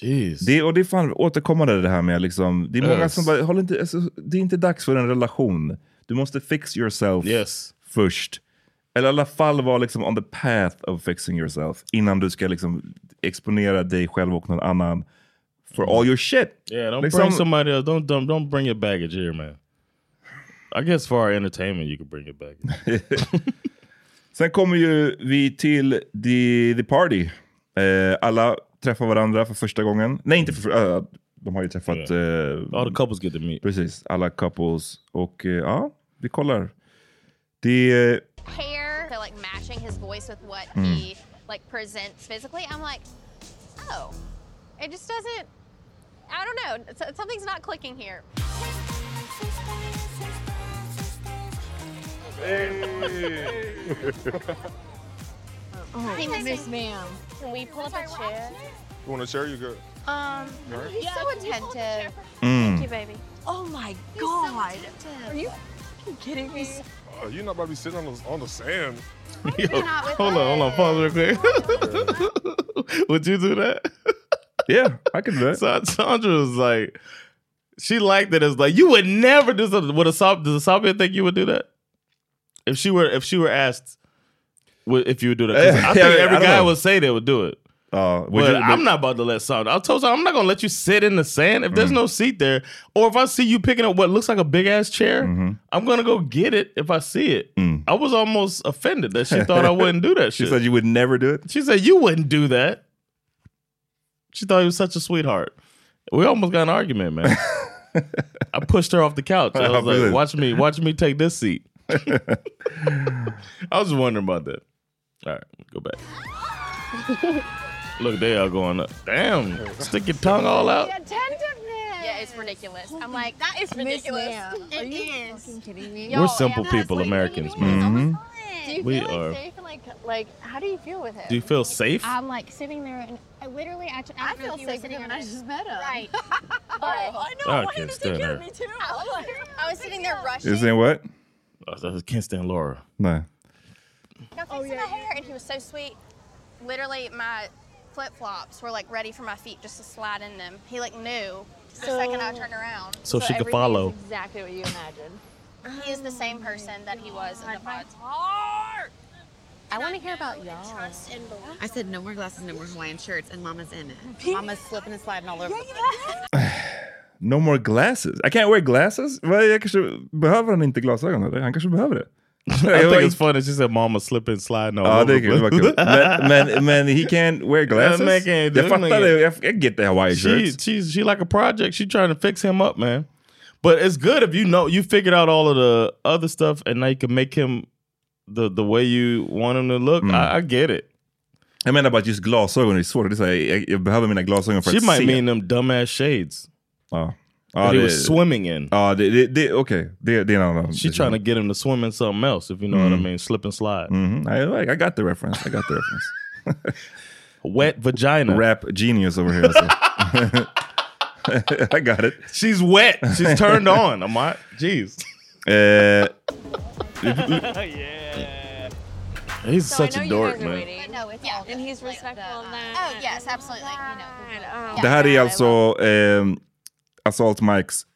[SPEAKER 1] Jeez.
[SPEAKER 2] Det, och det är fan återkommande det här med liksom, det är många
[SPEAKER 1] Yes.
[SPEAKER 2] som bara, håll inte, alltså, det är inte dags för en relation. Du måste fix yourself först. Eller i alla fall vara liksom on the path of fixing yourself innan du ska liksom exponera dig själv och någon annan for all your shit.
[SPEAKER 1] Yeah, don't
[SPEAKER 2] Liksom-
[SPEAKER 1] bring somebody else. Don't, don't don't bring your baggage here, man. I guess for our entertainment, you can bring your baggage.
[SPEAKER 2] Sen kommer ju vi till the, the party. Eh, alla träffar varandra för första gången. Nej, inte för eh, De har ju träffat... all the
[SPEAKER 1] couples get to meet.
[SPEAKER 2] Precis, alla couples. Och eh, ja, vi kollar. Det är...
[SPEAKER 10] hair. They're like matching his voice with what
[SPEAKER 1] Hmm.
[SPEAKER 2] Mm.
[SPEAKER 10] he like presents physically. I'm like, oh, it just doesn't. I don't know. So- Something's not clicking here.
[SPEAKER 11] Oh,
[SPEAKER 10] Hey, Miss
[SPEAKER 11] Miss
[SPEAKER 10] Ma'am.
[SPEAKER 11] Ma'am.
[SPEAKER 10] Can we pull up a chair?
[SPEAKER 12] You want to share? You good?
[SPEAKER 11] Um,
[SPEAKER 12] You're right.
[SPEAKER 11] he's so attentive.
[SPEAKER 12] Mm.
[SPEAKER 11] Thank you, baby. Oh my god. Are you f***ing kidding me?
[SPEAKER 12] Uh, you're not about to be sitting on the, on the sand.
[SPEAKER 1] Yo, hold on, hold on, pause real quick. Would you do that?
[SPEAKER 2] Yeah, I could do that.
[SPEAKER 1] So Sandra was like, she liked it. It's like you would never do something. Would a Sob- does a Sabia think you would do that? If she were, if she were asked, would- if you would do that, 'Cause I
[SPEAKER 2] Yeah,
[SPEAKER 1] think
[SPEAKER 2] I
[SPEAKER 1] every
[SPEAKER 2] don't
[SPEAKER 1] guy
[SPEAKER 2] know.
[SPEAKER 1] would say they would do it.
[SPEAKER 2] Uh,
[SPEAKER 1] but I'm not about to let Sandra. I told Sandra I'm not gonna let you sit in the sand if
[SPEAKER 2] Mm.
[SPEAKER 1] there's no seat there, or if I see you picking up what looks like a big ass chair.
[SPEAKER 2] Mm-hmm.
[SPEAKER 1] I'm gonna go get it if I see it. I was almost offended that she thought I wouldn't do that
[SPEAKER 2] Mm. She
[SPEAKER 1] shit.
[SPEAKER 2] said you would never do it?
[SPEAKER 1] She said you wouldn't do that. She thought he was such a sweetheart. We almost got in an argument, man. I pushed her off the couch. I was like,
[SPEAKER 2] Oh, Really?
[SPEAKER 1] watch me, watch me take this seat. I was just wondering about that. All right, go back. Look, they are going up. Damn, stick your tongue all out.
[SPEAKER 10] attentiveness. Yeah, it's ridiculous. I'm like, that is ridiculous.
[SPEAKER 11] Are
[SPEAKER 10] It
[SPEAKER 11] you
[SPEAKER 10] is.
[SPEAKER 11] fucking kidding me?
[SPEAKER 1] We're simple people, Americans,
[SPEAKER 2] Mm-hmm.
[SPEAKER 1] man.
[SPEAKER 10] Do you
[SPEAKER 1] We
[SPEAKER 10] feel like
[SPEAKER 1] are-
[SPEAKER 10] safe and like like how do you feel with him?
[SPEAKER 1] Do you feel safe?
[SPEAKER 10] I'm like sitting there and I literally I, I, feel safe with him and I just met him. Right. but I
[SPEAKER 1] know, I I wanted can't to take stand care of her. me
[SPEAKER 10] too. I was, I was sitting there rushing.
[SPEAKER 2] You're saying what?
[SPEAKER 1] Oh, I just can't stand Laura.
[SPEAKER 2] No.
[SPEAKER 10] I fixing my hair and he was so sweet. Literally my flip flops were like ready for my feet just to slide in them. He like knew the second I turned around.
[SPEAKER 1] So So she could everything is follow.
[SPEAKER 10] Exactly what you imagined. He is the same person that he was in the pods.
[SPEAKER 4] I want to hear about y'all. I said no more glasses, no more Hawaiian shirts, and Mama's in it. Mama's slipping and sliding all over. the place.
[SPEAKER 2] No more glasses. I can't wear glasses? Vad, Jag kanske, behöver han inte glasögon eller? Han kanske behöver det.
[SPEAKER 1] I think it's funny. She said mama slipping and sliding all
[SPEAKER 2] Ja,
[SPEAKER 1] over
[SPEAKER 2] det kan
[SPEAKER 1] the
[SPEAKER 2] vara
[SPEAKER 1] place.
[SPEAKER 2] kul. Men, men, men he can't wear glasses?
[SPEAKER 1] That man can't do
[SPEAKER 2] jag fattar
[SPEAKER 1] nothing.
[SPEAKER 2] det. Jag, jag get the Hawaii
[SPEAKER 1] She,
[SPEAKER 2] shirts.
[SPEAKER 1] she's she like a project. She trying to fix him up, man. But it's good if you know you figured out all of the other stuff, and now you can make him the the way you want him to look.
[SPEAKER 2] Mm.
[SPEAKER 1] I, I get it.
[SPEAKER 2] Jag menar bara just glasögon är svårt. Det är så här, jag, jag behöver mina glasögon för
[SPEAKER 1] She
[SPEAKER 2] att
[SPEAKER 1] might
[SPEAKER 2] se.
[SPEAKER 1] mean them dumbass shades.
[SPEAKER 2] Ja. Oh,
[SPEAKER 1] that he was swimming in.
[SPEAKER 2] Ja, det, det, det, okej. Det, det är en annan.
[SPEAKER 1] She trying to get him to swim in something else, if you know what I mean. Slip and slide.
[SPEAKER 2] Mhm. Mm-hmm. I, like, I got the reference. I got the reference.
[SPEAKER 1] Wet vagina.
[SPEAKER 2] Rap genius over here. so. I got it.
[SPEAKER 1] She's wet. She's turned on. I'm not. Jeez.
[SPEAKER 2] Eh,
[SPEAKER 1] He's
[SPEAKER 7] So I
[SPEAKER 1] such
[SPEAKER 7] know
[SPEAKER 1] a
[SPEAKER 7] you
[SPEAKER 1] dork,
[SPEAKER 7] guys are
[SPEAKER 1] man.
[SPEAKER 7] waiting. yeah, and he's respectful of that.
[SPEAKER 10] Oh, yes, absolutely. You know,
[SPEAKER 11] um,
[SPEAKER 2] det här är alltså ehm, Assault Mikes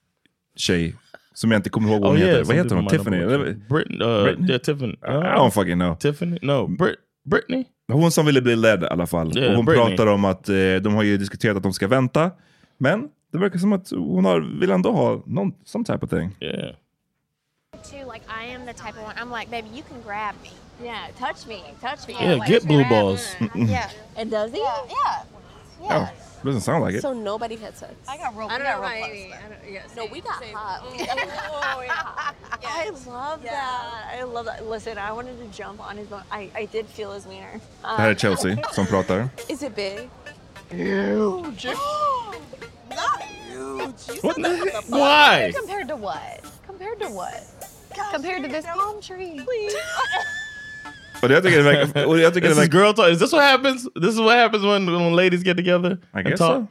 [SPEAKER 2] tjej. Som jag inte kommer ihåg vad hon
[SPEAKER 1] Oh, yeah,
[SPEAKER 2] heter. Vad
[SPEAKER 1] some
[SPEAKER 2] heter hon?
[SPEAKER 1] people might
[SPEAKER 2] Tiffany?
[SPEAKER 1] have watched it. Brit- uh, yeah, Tiffany. Uh,
[SPEAKER 2] I don't fucking know.
[SPEAKER 1] Tiffany? No, Brit Britney?
[SPEAKER 2] Hon som ville bli ledd i alla fall.
[SPEAKER 1] Yeah,
[SPEAKER 2] och hon
[SPEAKER 1] Britney.
[SPEAKER 2] pratar om att eh, de har ju diskuterat att de ska vänta. Men det verkar som att hon har, vill ändå ha någon, some type of thing.
[SPEAKER 1] Yeah.
[SPEAKER 11] Too, like I am the type of one. I'm like, baby, you can grab me. Yeah, touch me, touch me.
[SPEAKER 2] Yeah, get blue balls.
[SPEAKER 11] yeah, and does he? Yeah, yeah.
[SPEAKER 2] Yeah. Doesn't sound like it.
[SPEAKER 5] So nobody had sex. I got real.
[SPEAKER 11] I don't know. Maybe. I don't, yeah, Oh, no, we got hot.
[SPEAKER 7] I love that. I love that. Listen, I wanted to jump on his. bone. I, I did feel his wiener. Um,
[SPEAKER 2] Det här är Chelsea som pratar.
[SPEAKER 7] Is it big?
[SPEAKER 11] Huge. Not huge.
[SPEAKER 2] What the heck?
[SPEAKER 1] Why?
[SPEAKER 11] Compared to what? Compared to what? Compared to this palm tree. Please.
[SPEAKER 2] Och jag tycker det verkar... Och jag tycker det
[SPEAKER 1] This is
[SPEAKER 2] verkar
[SPEAKER 1] girl talk. Is this what happens? This is what happens when, when ladies get together?
[SPEAKER 2] I
[SPEAKER 1] and
[SPEAKER 2] guess
[SPEAKER 1] talk?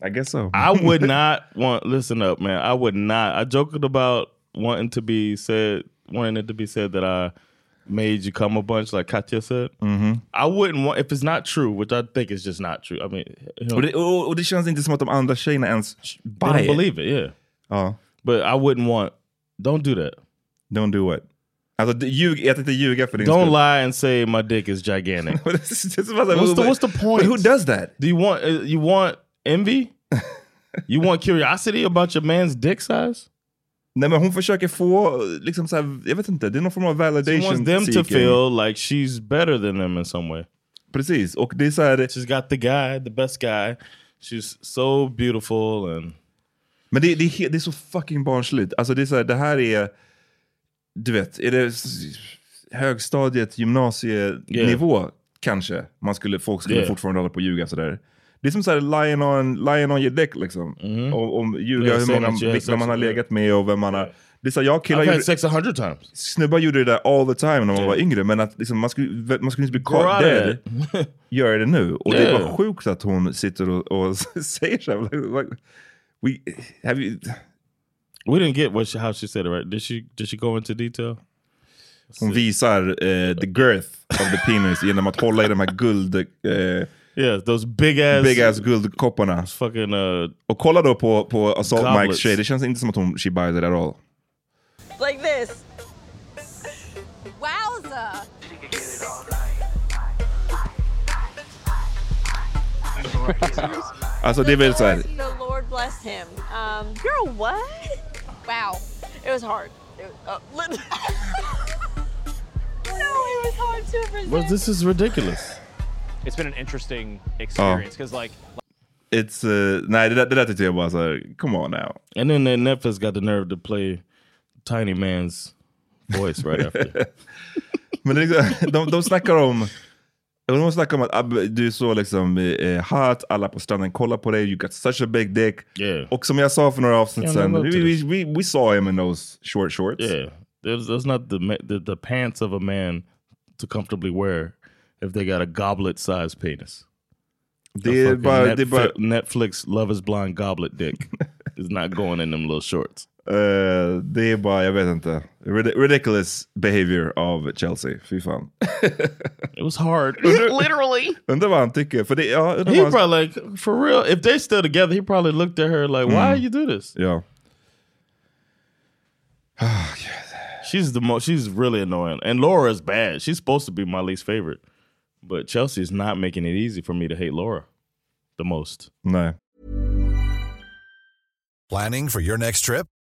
[SPEAKER 2] so. I guess so.
[SPEAKER 1] I would not want. Listen up, man. I would not. I joked about wanting to be said, wanting it to be said that I made you come a bunch, like Katya said.
[SPEAKER 2] Mhm.
[SPEAKER 1] I wouldn't want if it's not true, which I think is just not true. I mean, you know,
[SPEAKER 2] Och det, och, och det känns inte som att de andra tjejerna ens
[SPEAKER 1] they
[SPEAKER 2] buy
[SPEAKER 1] don't
[SPEAKER 2] it.
[SPEAKER 1] believe it. Yeah.
[SPEAKER 2] Ja.
[SPEAKER 1] But I wouldn't want. Don't do that.
[SPEAKER 2] Oh. Don't do what? Alltså, du- ljug, jag tänkte ljuga för din
[SPEAKER 1] Don't
[SPEAKER 2] skull.
[SPEAKER 1] lie and say my dick is gigantic.
[SPEAKER 2] what's, the,
[SPEAKER 1] what's the point?
[SPEAKER 2] who does that?
[SPEAKER 1] Do you want uh, you want envy? you want curiosity about your man's dick size?
[SPEAKER 2] Nej, men hon försöker få, liksom så här, jag vet inte, det är någon form av
[SPEAKER 1] She wants
[SPEAKER 2] validation
[SPEAKER 1] them to
[SPEAKER 2] seeking.
[SPEAKER 1] feel like she's better than them in some way.
[SPEAKER 2] Precis. Och det är så här,
[SPEAKER 1] She's got the guy, the best guy. She's so beautiful and
[SPEAKER 2] Men det, det, är, he- det är så fucking barnsligt. Alltså det är så här, det här är, du vet, är det s- högstadiet, gymnasienivå kanske? Man skulle, folk skulle
[SPEAKER 1] Yeah.
[SPEAKER 2] fortfarande hålla på och ljuga sådär. Det är som såhär, lion on, lion on your dick liksom. Om, om ljuga
[SPEAKER 1] Mm. Yeah,
[SPEAKER 2] hur
[SPEAKER 1] say
[SPEAKER 2] många,
[SPEAKER 1] that you had
[SPEAKER 2] vilka
[SPEAKER 1] sex
[SPEAKER 2] man har
[SPEAKER 1] with her.
[SPEAKER 2] legat med och vem man har... Det är så här, jag och killar
[SPEAKER 1] I've
[SPEAKER 2] gjorde,
[SPEAKER 1] had sex a hundred times.
[SPEAKER 2] snubbar gjorde det där all the time när man var yngre, men att liksom, man skulle, man skulle inte bli
[SPEAKER 1] Grow out
[SPEAKER 2] caught
[SPEAKER 1] of
[SPEAKER 2] dead. Gör det nu. Och det är
[SPEAKER 1] Yeah.
[SPEAKER 2] bara sjukt att hon sitter och, och säger så här. Like, like, we, have you,
[SPEAKER 1] We didn't get what she, how she said it right. Did she did she go into detail?
[SPEAKER 2] Hon visar eh, the girth of the penis genom att hålla i de här guld... eh,
[SPEAKER 1] Yeah, those big ass
[SPEAKER 2] Big ass guldkopparna.
[SPEAKER 1] Fucking, uh,
[SPEAKER 2] och kolla då på, på Assault
[SPEAKER 1] Goblets.
[SPEAKER 2] Mikes tjej. Det känns inte som att hon, she buys it at all.
[SPEAKER 11] Like this. Wowza.
[SPEAKER 2] Alltså det är väl så här.
[SPEAKER 7] The Lord bless him. Um, girl, what? Wow. It was hard. It, uh, lit-
[SPEAKER 11] No, it was hard to resist.
[SPEAKER 1] Well, this is ridiculous.
[SPEAKER 3] It's been an interesting
[SPEAKER 1] Oh.
[SPEAKER 3] experience because, like,
[SPEAKER 2] It's, eh, nej, det där, det där tyckte jag bara så här, uh, come on now.
[SPEAKER 1] And then that Netflix got the nerve to play Tiny Man's voice right after.
[SPEAKER 2] Men det är liksom, de, de snackar om... De snackar om att ah, du är så liksom eh, hot, alla på stranden kollar på dig, you got such a big dick. Och som jag sa för några avsnitt
[SPEAKER 1] Yeah,
[SPEAKER 2] sen,
[SPEAKER 1] no,
[SPEAKER 2] we,
[SPEAKER 1] no,
[SPEAKER 2] we, we, we saw him in those short shorts.
[SPEAKER 1] Yeah, that's, that's not the, ma- the the pants of a man to comfortably wear if they got a goblet sized penis.
[SPEAKER 2] They
[SPEAKER 1] A fucking
[SPEAKER 2] buy- they buy-
[SPEAKER 1] Netflix Love Is Blind goblet dick is not going in them little shorts.
[SPEAKER 2] Eh, det är bara, jag vet inte. Rid- Ridiculous behavior av Chelsea. Fy fan.
[SPEAKER 1] It was hard.
[SPEAKER 2] Literally. Undrar vad han tycker. För det, ja, undrar
[SPEAKER 1] He
[SPEAKER 2] vad han,
[SPEAKER 1] probably like for real. If they still together, he probably looked at her like, "Why
[SPEAKER 2] Mm.
[SPEAKER 1] you do this?"
[SPEAKER 2] ja.
[SPEAKER 1] She's the most. She's really annoying. And Laura is bad. She's supposed to be my least favorite, but Chelsea is not making it easy for me to hate Laura the most.
[SPEAKER 2] No.
[SPEAKER 13] Planning for your next trip?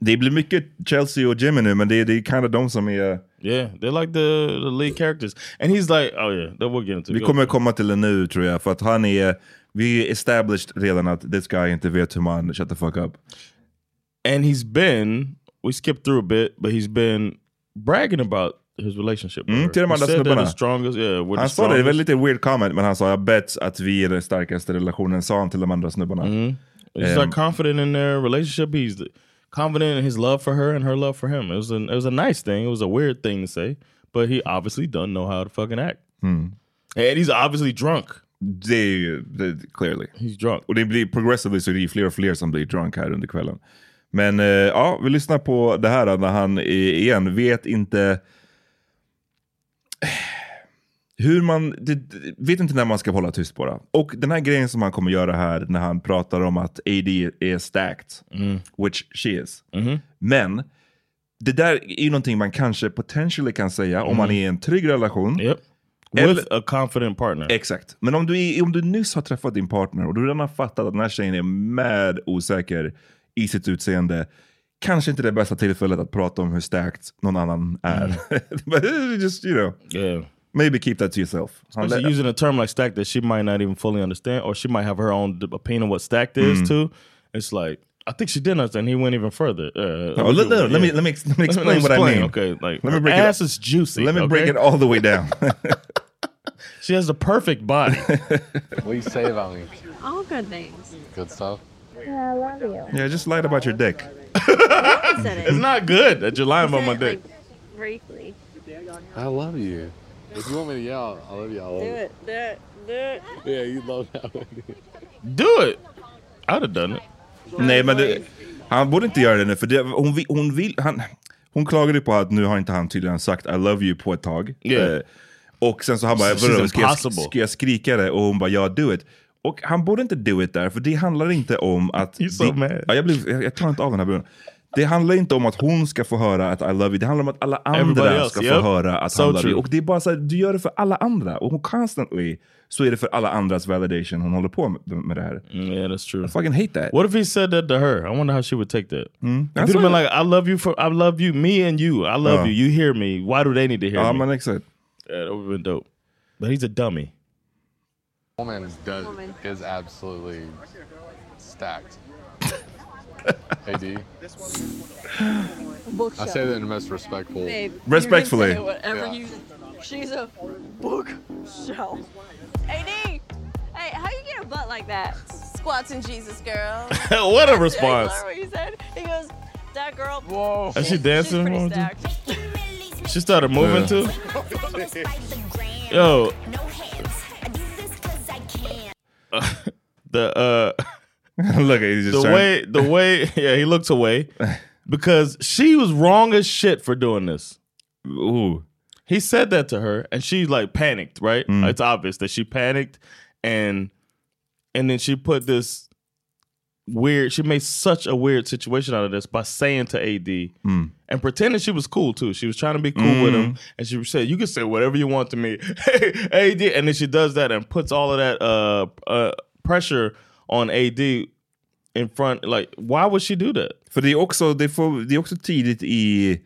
[SPEAKER 2] det blir mycket Chelsea och Jimmy nu, men det, det är kind of de som är...
[SPEAKER 1] Yeah, they're like the the lead characters, and he's like, oh yeah, that we'll get into.
[SPEAKER 2] Vi
[SPEAKER 1] Go.
[SPEAKER 2] kommer komma till det nu tror jag, för att han är... Vi established redan att this guy inte vet hur man shut the fuck up.
[SPEAKER 1] and he's been we skipped through a bit, but he's been bragging about his relationship. with
[SPEAKER 2] Mm,
[SPEAKER 1] her.
[SPEAKER 2] till de
[SPEAKER 1] He
[SPEAKER 2] andra
[SPEAKER 1] said they're the
[SPEAKER 2] snubbarna.
[SPEAKER 1] strongest. Yeah, we're the
[SPEAKER 2] Han sa det, det var
[SPEAKER 1] strongest.
[SPEAKER 2] lite weird comment, men han sa jag bet att vi är den starkaste relationen, sa han till de andra snubbarna.
[SPEAKER 1] He's
[SPEAKER 2] Ehm,
[SPEAKER 1] like confident in their relationship. He's th- confident in his love for her and her love for him. It was an, it was a nice thing. It was a weird thing to say, but he obviously doesn't know how to fucking act.
[SPEAKER 2] Mm.
[SPEAKER 1] And he's obviously drunk.
[SPEAKER 2] Det är ju, det, clearly.
[SPEAKER 1] He's drunk.
[SPEAKER 2] Och det blir progressively så det är ju fler och fler som blir drunk här under kvällen. Men eh, ja, vi lyssnar på det här när han eh, igen vet inte hur man, det, det- vet inte när man ska hålla tyst bara. Och den här grejen som han kommer göra här när han pratar om att AD är stacked,
[SPEAKER 1] Mm.
[SPEAKER 2] which she is.
[SPEAKER 1] Mm-hmm.
[SPEAKER 2] Men det där är ju någonting man kanske potentially kan säga om man
[SPEAKER 1] Mm.
[SPEAKER 2] är i en trygg relation.
[SPEAKER 1] With a confident partner.
[SPEAKER 2] Exakt. Men om du, är- om du nyss har träffat din partner och du redan har fattat att den här tjejen är mad osäker i sitt utseende. Kanske inte det bästa tillfället att prata om hur starkt någon annan är.
[SPEAKER 1] Mm.
[SPEAKER 2] But just, you know.
[SPEAKER 1] Yeah.
[SPEAKER 2] Maybe keep that to yourself. Han
[SPEAKER 1] Especially
[SPEAKER 2] lä-
[SPEAKER 1] using a term like stacked that she might not even fully understand, or she might have her own d- opinion of what stacked is
[SPEAKER 2] Mm.
[SPEAKER 1] too. It's like I think she didn't understand. He went even further. Uh,
[SPEAKER 2] No, Oh, let, no, let me,
[SPEAKER 1] yeah.
[SPEAKER 2] let, me, ex- let me explain what I
[SPEAKER 1] explain.
[SPEAKER 2] mean.
[SPEAKER 1] Okay, like
[SPEAKER 2] let me
[SPEAKER 1] her
[SPEAKER 2] break
[SPEAKER 1] ass
[SPEAKER 2] it,
[SPEAKER 1] is juicy.
[SPEAKER 2] Let me break
[SPEAKER 1] okay?
[SPEAKER 2] it all the way down.
[SPEAKER 1] she has the perfect body.
[SPEAKER 9] What do you say about me?
[SPEAKER 7] All good things.
[SPEAKER 9] Good stuff.
[SPEAKER 7] Yeah, I love you.
[SPEAKER 2] yeah, just lied about your dick.
[SPEAKER 1] it's not good that you're lying about my dick.
[SPEAKER 7] Briefly. Do
[SPEAKER 9] I love you. If you want me to yell, I love you. I love you.
[SPEAKER 7] it. Do it. Do it.
[SPEAKER 9] Yeah, you love that one.
[SPEAKER 1] Do it. I'd have done it.
[SPEAKER 2] Nej, men det, han borde inte göra det nu. För det, hon, vi- hon, vill, han, hon klagade ju på att nu har inte han tydligen sagt I love you på ett tag.
[SPEAKER 1] Yeah.
[SPEAKER 2] Eh, och sen så han bara,
[SPEAKER 1] She's
[SPEAKER 2] vadå, ska, jag,
[SPEAKER 1] impossible."
[SPEAKER 2] ska jag skrika det? Och hon bara, ja, do it. Och han borde inte do it där, för det handlar inte om att...
[SPEAKER 1] You're so
[SPEAKER 2] det,
[SPEAKER 1] mad.
[SPEAKER 2] Ja, jag, blir, jag, jag tar inte av den här bruden. Det handlar inte om att hon ska få höra att I love you. Det handlar om att alla andra
[SPEAKER 1] Everybody else,
[SPEAKER 2] ska
[SPEAKER 1] yep.
[SPEAKER 2] få höra att
[SPEAKER 1] So
[SPEAKER 2] han love
[SPEAKER 1] true.
[SPEAKER 2] you. Och det är bara så här, du gör det för alla andra. Och hon constantly så är det för alla andras validation hon håller på med, med det här.
[SPEAKER 1] Mm, yeah, that's true. I
[SPEAKER 2] fucking hate that.
[SPEAKER 1] What if he said that to her? I wonder how she would take that.
[SPEAKER 2] Mm.
[SPEAKER 1] If
[SPEAKER 2] That's
[SPEAKER 1] he'd have
[SPEAKER 2] what- Uh.
[SPEAKER 1] been like, "I love you for, I love you, me and you. I love
[SPEAKER 2] Ja.
[SPEAKER 1] you. You hear me. Why do they need to hear
[SPEAKER 2] Ja,
[SPEAKER 1] me?"
[SPEAKER 2] men exakt.
[SPEAKER 1] Yeah, that would have been dope. But he's a dummy.
[SPEAKER 9] Woman does is absolutely stacked. hey D. I say that in the most respectful.
[SPEAKER 14] Babe, you can
[SPEAKER 2] Respectfully.
[SPEAKER 14] say whatever
[SPEAKER 9] Yeah.
[SPEAKER 14] you. She's a bookshelf.
[SPEAKER 15] AD, hey, how you get a butt like that? Squats and Jesus, girl.
[SPEAKER 1] What a response.
[SPEAKER 15] That's what he said. He goes, that girl.
[SPEAKER 1] Whoa. Is she dancing?
[SPEAKER 15] Oh. She's pretty
[SPEAKER 1] stacked.
[SPEAKER 15] stacked.
[SPEAKER 1] She started moving
[SPEAKER 2] Yeah.
[SPEAKER 1] too. Yo. the uh
[SPEAKER 2] Look, he just
[SPEAKER 1] the
[SPEAKER 2] turned-
[SPEAKER 1] way the way yeah he looks away because she was wrong as shit for doing this.
[SPEAKER 2] Ooh,
[SPEAKER 1] he said that to her, and she like panicked. Right,
[SPEAKER 2] Mm.
[SPEAKER 1] it's obvious that she panicked, and and then she put this weird. She made such a weird situation out of this by saying to AD
[SPEAKER 2] Mm.
[SPEAKER 1] and pretending she was cool too. She was trying to be cool with
[SPEAKER 2] Hmm.
[SPEAKER 1] him, and she said, "You can say whatever you want to me, hey, AD." And then she does that and puts all of that uh, uh, pressure on AD in front. Like, why would she do that?
[SPEAKER 2] För det är också, det får, det är också tidigt i...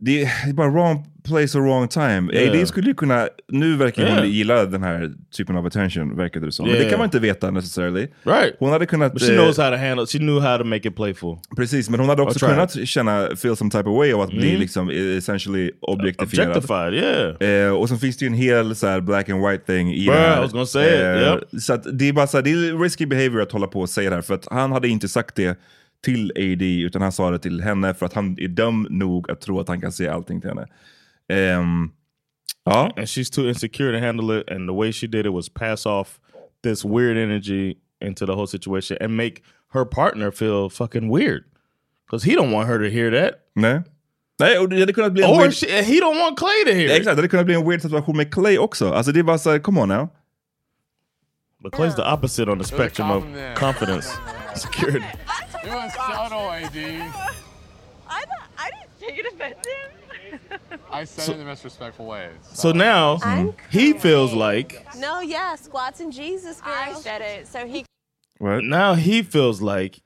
[SPEAKER 2] Det är bara wrong place or wrong time.
[SPEAKER 1] Yeah.
[SPEAKER 2] AD skulle ju kunna... Nu verkar
[SPEAKER 1] Yeah.
[SPEAKER 2] hon gilla den här typen av attention, verkar det som. Men det
[SPEAKER 1] Yeah.
[SPEAKER 2] kan man inte veta necessarily.
[SPEAKER 1] Right.
[SPEAKER 2] Hon hade kunnat...
[SPEAKER 1] But she
[SPEAKER 2] eh,
[SPEAKER 1] knows how to handle. She knew how to make it playful.
[SPEAKER 2] Precis, men hon hade
[SPEAKER 1] Or
[SPEAKER 2] också
[SPEAKER 1] try
[SPEAKER 2] kunnat känna feel some type of way av att bli
[SPEAKER 1] Mm.
[SPEAKER 2] liksom essentially objectifierad.
[SPEAKER 1] Objectified,
[SPEAKER 2] Eh, och sen finns det ju en hel så här, black and white thing i
[SPEAKER 1] Bruh,
[SPEAKER 2] det här. Eh,
[SPEAKER 1] I was gonna say it, yep.
[SPEAKER 2] Så att det är bara så här, det är risky behavior att hålla på och säga det här. För att han hade inte sagt det till AD, utan han sa det till henne för att han är dum nog att tro att han kan säga allting till henne. Ehm, ja.
[SPEAKER 1] And she's too insecure to handle it. And the way she did it was pass off this weird energy into the whole situation and make her partner feel fucking weird. Because he don't want her to hear that.
[SPEAKER 2] Nej. Nej, och det hade kunnat bli en
[SPEAKER 1] Or
[SPEAKER 2] weird...
[SPEAKER 1] she, he don't want Clay to hear it.
[SPEAKER 2] Exakt, det hade kunnat bli en weird situation med Clay också. Alltså det är bara såhär, come on now.
[SPEAKER 1] But Clay's the opposite on the
[SPEAKER 9] a
[SPEAKER 1] spectrum of
[SPEAKER 9] compliment.
[SPEAKER 1] confidence, security.
[SPEAKER 9] It was subtle, AD.
[SPEAKER 14] I thought I didn't take it offensive.
[SPEAKER 9] I said
[SPEAKER 1] So-
[SPEAKER 9] it in the most respectful way.
[SPEAKER 1] So now he feels like
[SPEAKER 14] no, yeah, squats and Jesus, girl. I said it, so he
[SPEAKER 1] now he feels like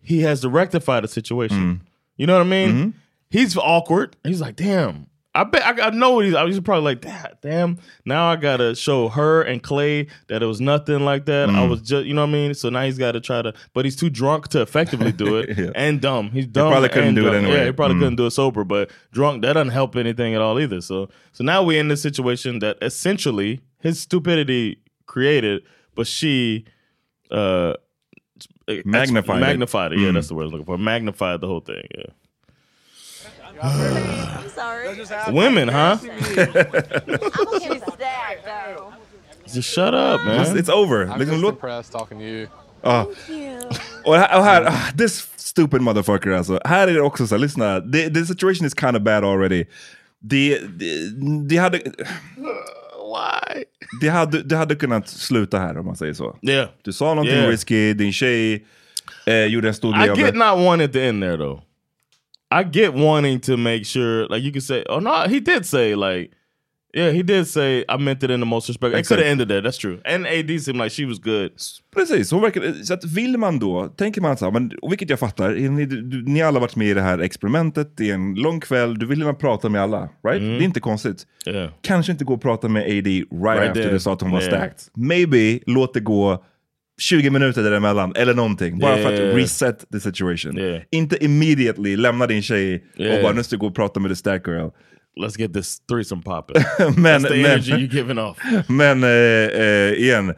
[SPEAKER 1] he has to rectify the
[SPEAKER 2] Mm-hmm.
[SPEAKER 1] situation. You know what I mean? He's awkward. He's like, damn. I bet I, I know what he's. I was probably like, that. damn. Now I gotta show her and Clay that it was nothing like that.
[SPEAKER 2] Mm-hmm.
[SPEAKER 1] I was just, you know what I mean. So now he's got to try to, but he's too drunk to effectively do it, and dumb. He's dumb.
[SPEAKER 2] probably couldn't
[SPEAKER 1] and
[SPEAKER 2] do it
[SPEAKER 1] dumb.
[SPEAKER 2] anyway.
[SPEAKER 1] Yeah, he probably
[SPEAKER 2] Mm.
[SPEAKER 1] couldn't do it sober, but drunk that doesn't help anything at all either. So, so now we're in this situation that essentially his stupidity created, but she uh ex-
[SPEAKER 2] Magnified it.
[SPEAKER 1] magnified it. Yeah,
[SPEAKER 2] Mm.
[SPEAKER 1] that's the word I was looking for. Magnified the whole thing. Yeah.
[SPEAKER 14] I'm sorry.
[SPEAKER 1] Women, huh?
[SPEAKER 14] I'm okay with that, though.
[SPEAKER 1] Just shut up, man.
[SPEAKER 2] It's, it's over.
[SPEAKER 9] I'm
[SPEAKER 2] Liksom,
[SPEAKER 9] just
[SPEAKER 2] låt-
[SPEAKER 9] impressed talking to you.
[SPEAKER 2] Ja. Och här, och här ah, this stupid motherfucker alltså. Här är det också så här, lyssna. The, the situation is kind of bad already. Det de, hade...
[SPEAKER 1] Why?
[SPEAKER 2] Det hade, det hade kunnat sluta här om man säger så.
[SPEAKER 1] Yeah.
[SPEAKER 2] Du sa någonting
[SPEAKER 1] Yeah.
[SPEAKER 2] risky, din tjej eh, gjorde en stor
[SPEAKER 1] I
[SPEAKER 2] grej av
[SPEAKER 1] get
[SPEAKER 2] det.
[SPEAKER 1] not wanting to end there though. I get wanting to make sure, like you could say, oh no, he did say like, yeah, he did say I meant it in the most respect. It could have
[SPEAKER 2] Exakt.
[SPEAKER 1] ended there. That's true. And AD seemed like she was good.
[SPEAKER 2] Precis, hon verkar, så att vill man då, tänker man så här, men, och vilket jag fattar, ni, du- ni alla har varit med i det här experimentet, det är en lång kväll, du vill gärna prata med alla, right?
[SPEAKER 1] Mm.
[SPEAKER 2] Det är inte konstigt.
[SPEAKER 1] Yeah.
[SPEAKER 2] Kanske inte gå och prata med AD right,
[SPEAKER 1] Right
[SPEAKER 2] after
[SPEAKER 1] there.
[SPEAKER 2] du sa att hon var
[SPEAKER 1] Yeah.
[SPEAKER 2] stacked. Maybe låt det gå 20 minuter däremellan eller någonting. Bara för
[SPEAKER 1] Yeah.
[SPEAKER 2] att reset the situation. Inte immediately lämna din tjej
[SPEAKER 1] Yeah.
[SPEAKER 2] och bara nu ska du gå och prata med the stack girl.
[SPEAKER 1] Let's get this threesome popping.
[SPEAKER 2] men,
[SPEAKER 1] That's the energy you're giving off.
[SPEAKER 2] men eh, eh, igen,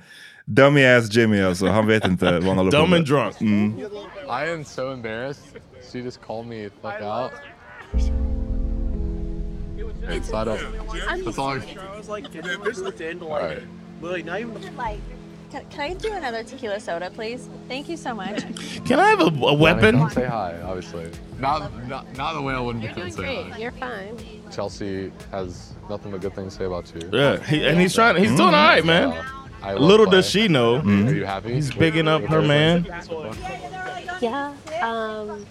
[SPEAKER 2] dummy ass Jimmy alltså. Han vet inte vad han håller på med. Mm.
[SPEAKER 9] I am so embarrassed. She just called me the fuck out. Hey, so I don't. That's all I
[SPEAKER 16] I was like, "Damn, this looked into like,
[SPEAKER 9] Alright.
[SPEAKER 16] literally not even
[SPEAKER 7] Like, can, can I do another tequila soda, please? Thank you so much.
[SPEAKER 1] Can I have a, a weapon?
[SPEAKER 9] Say hi, obviously. Not, not, not the way I wouldn't be able to say hi.
[SPEAKER 7] You're fine.
[SPEAKER 9] Chelsea has nothing but good things to say about you.
[SPEAKER 1] Yeah, he, and he's trying. He's doing all right, man.
[SPEAKER 9] Mm-hmm. I love
[SPEAKER 1] Little
[SPEAKER 9] Clay.
[SPEAKER 1] does she know. Mm-hmm.
[SPEAKER 9] Are you happy?
[SPEAKER 1] He's
[SPEAKER 9] with-
[SPEAKER 1] bigging up
[SPEAKER 9] with
[SPEAKER 1] her man.
[SPEAKER 17] Yeah. Um,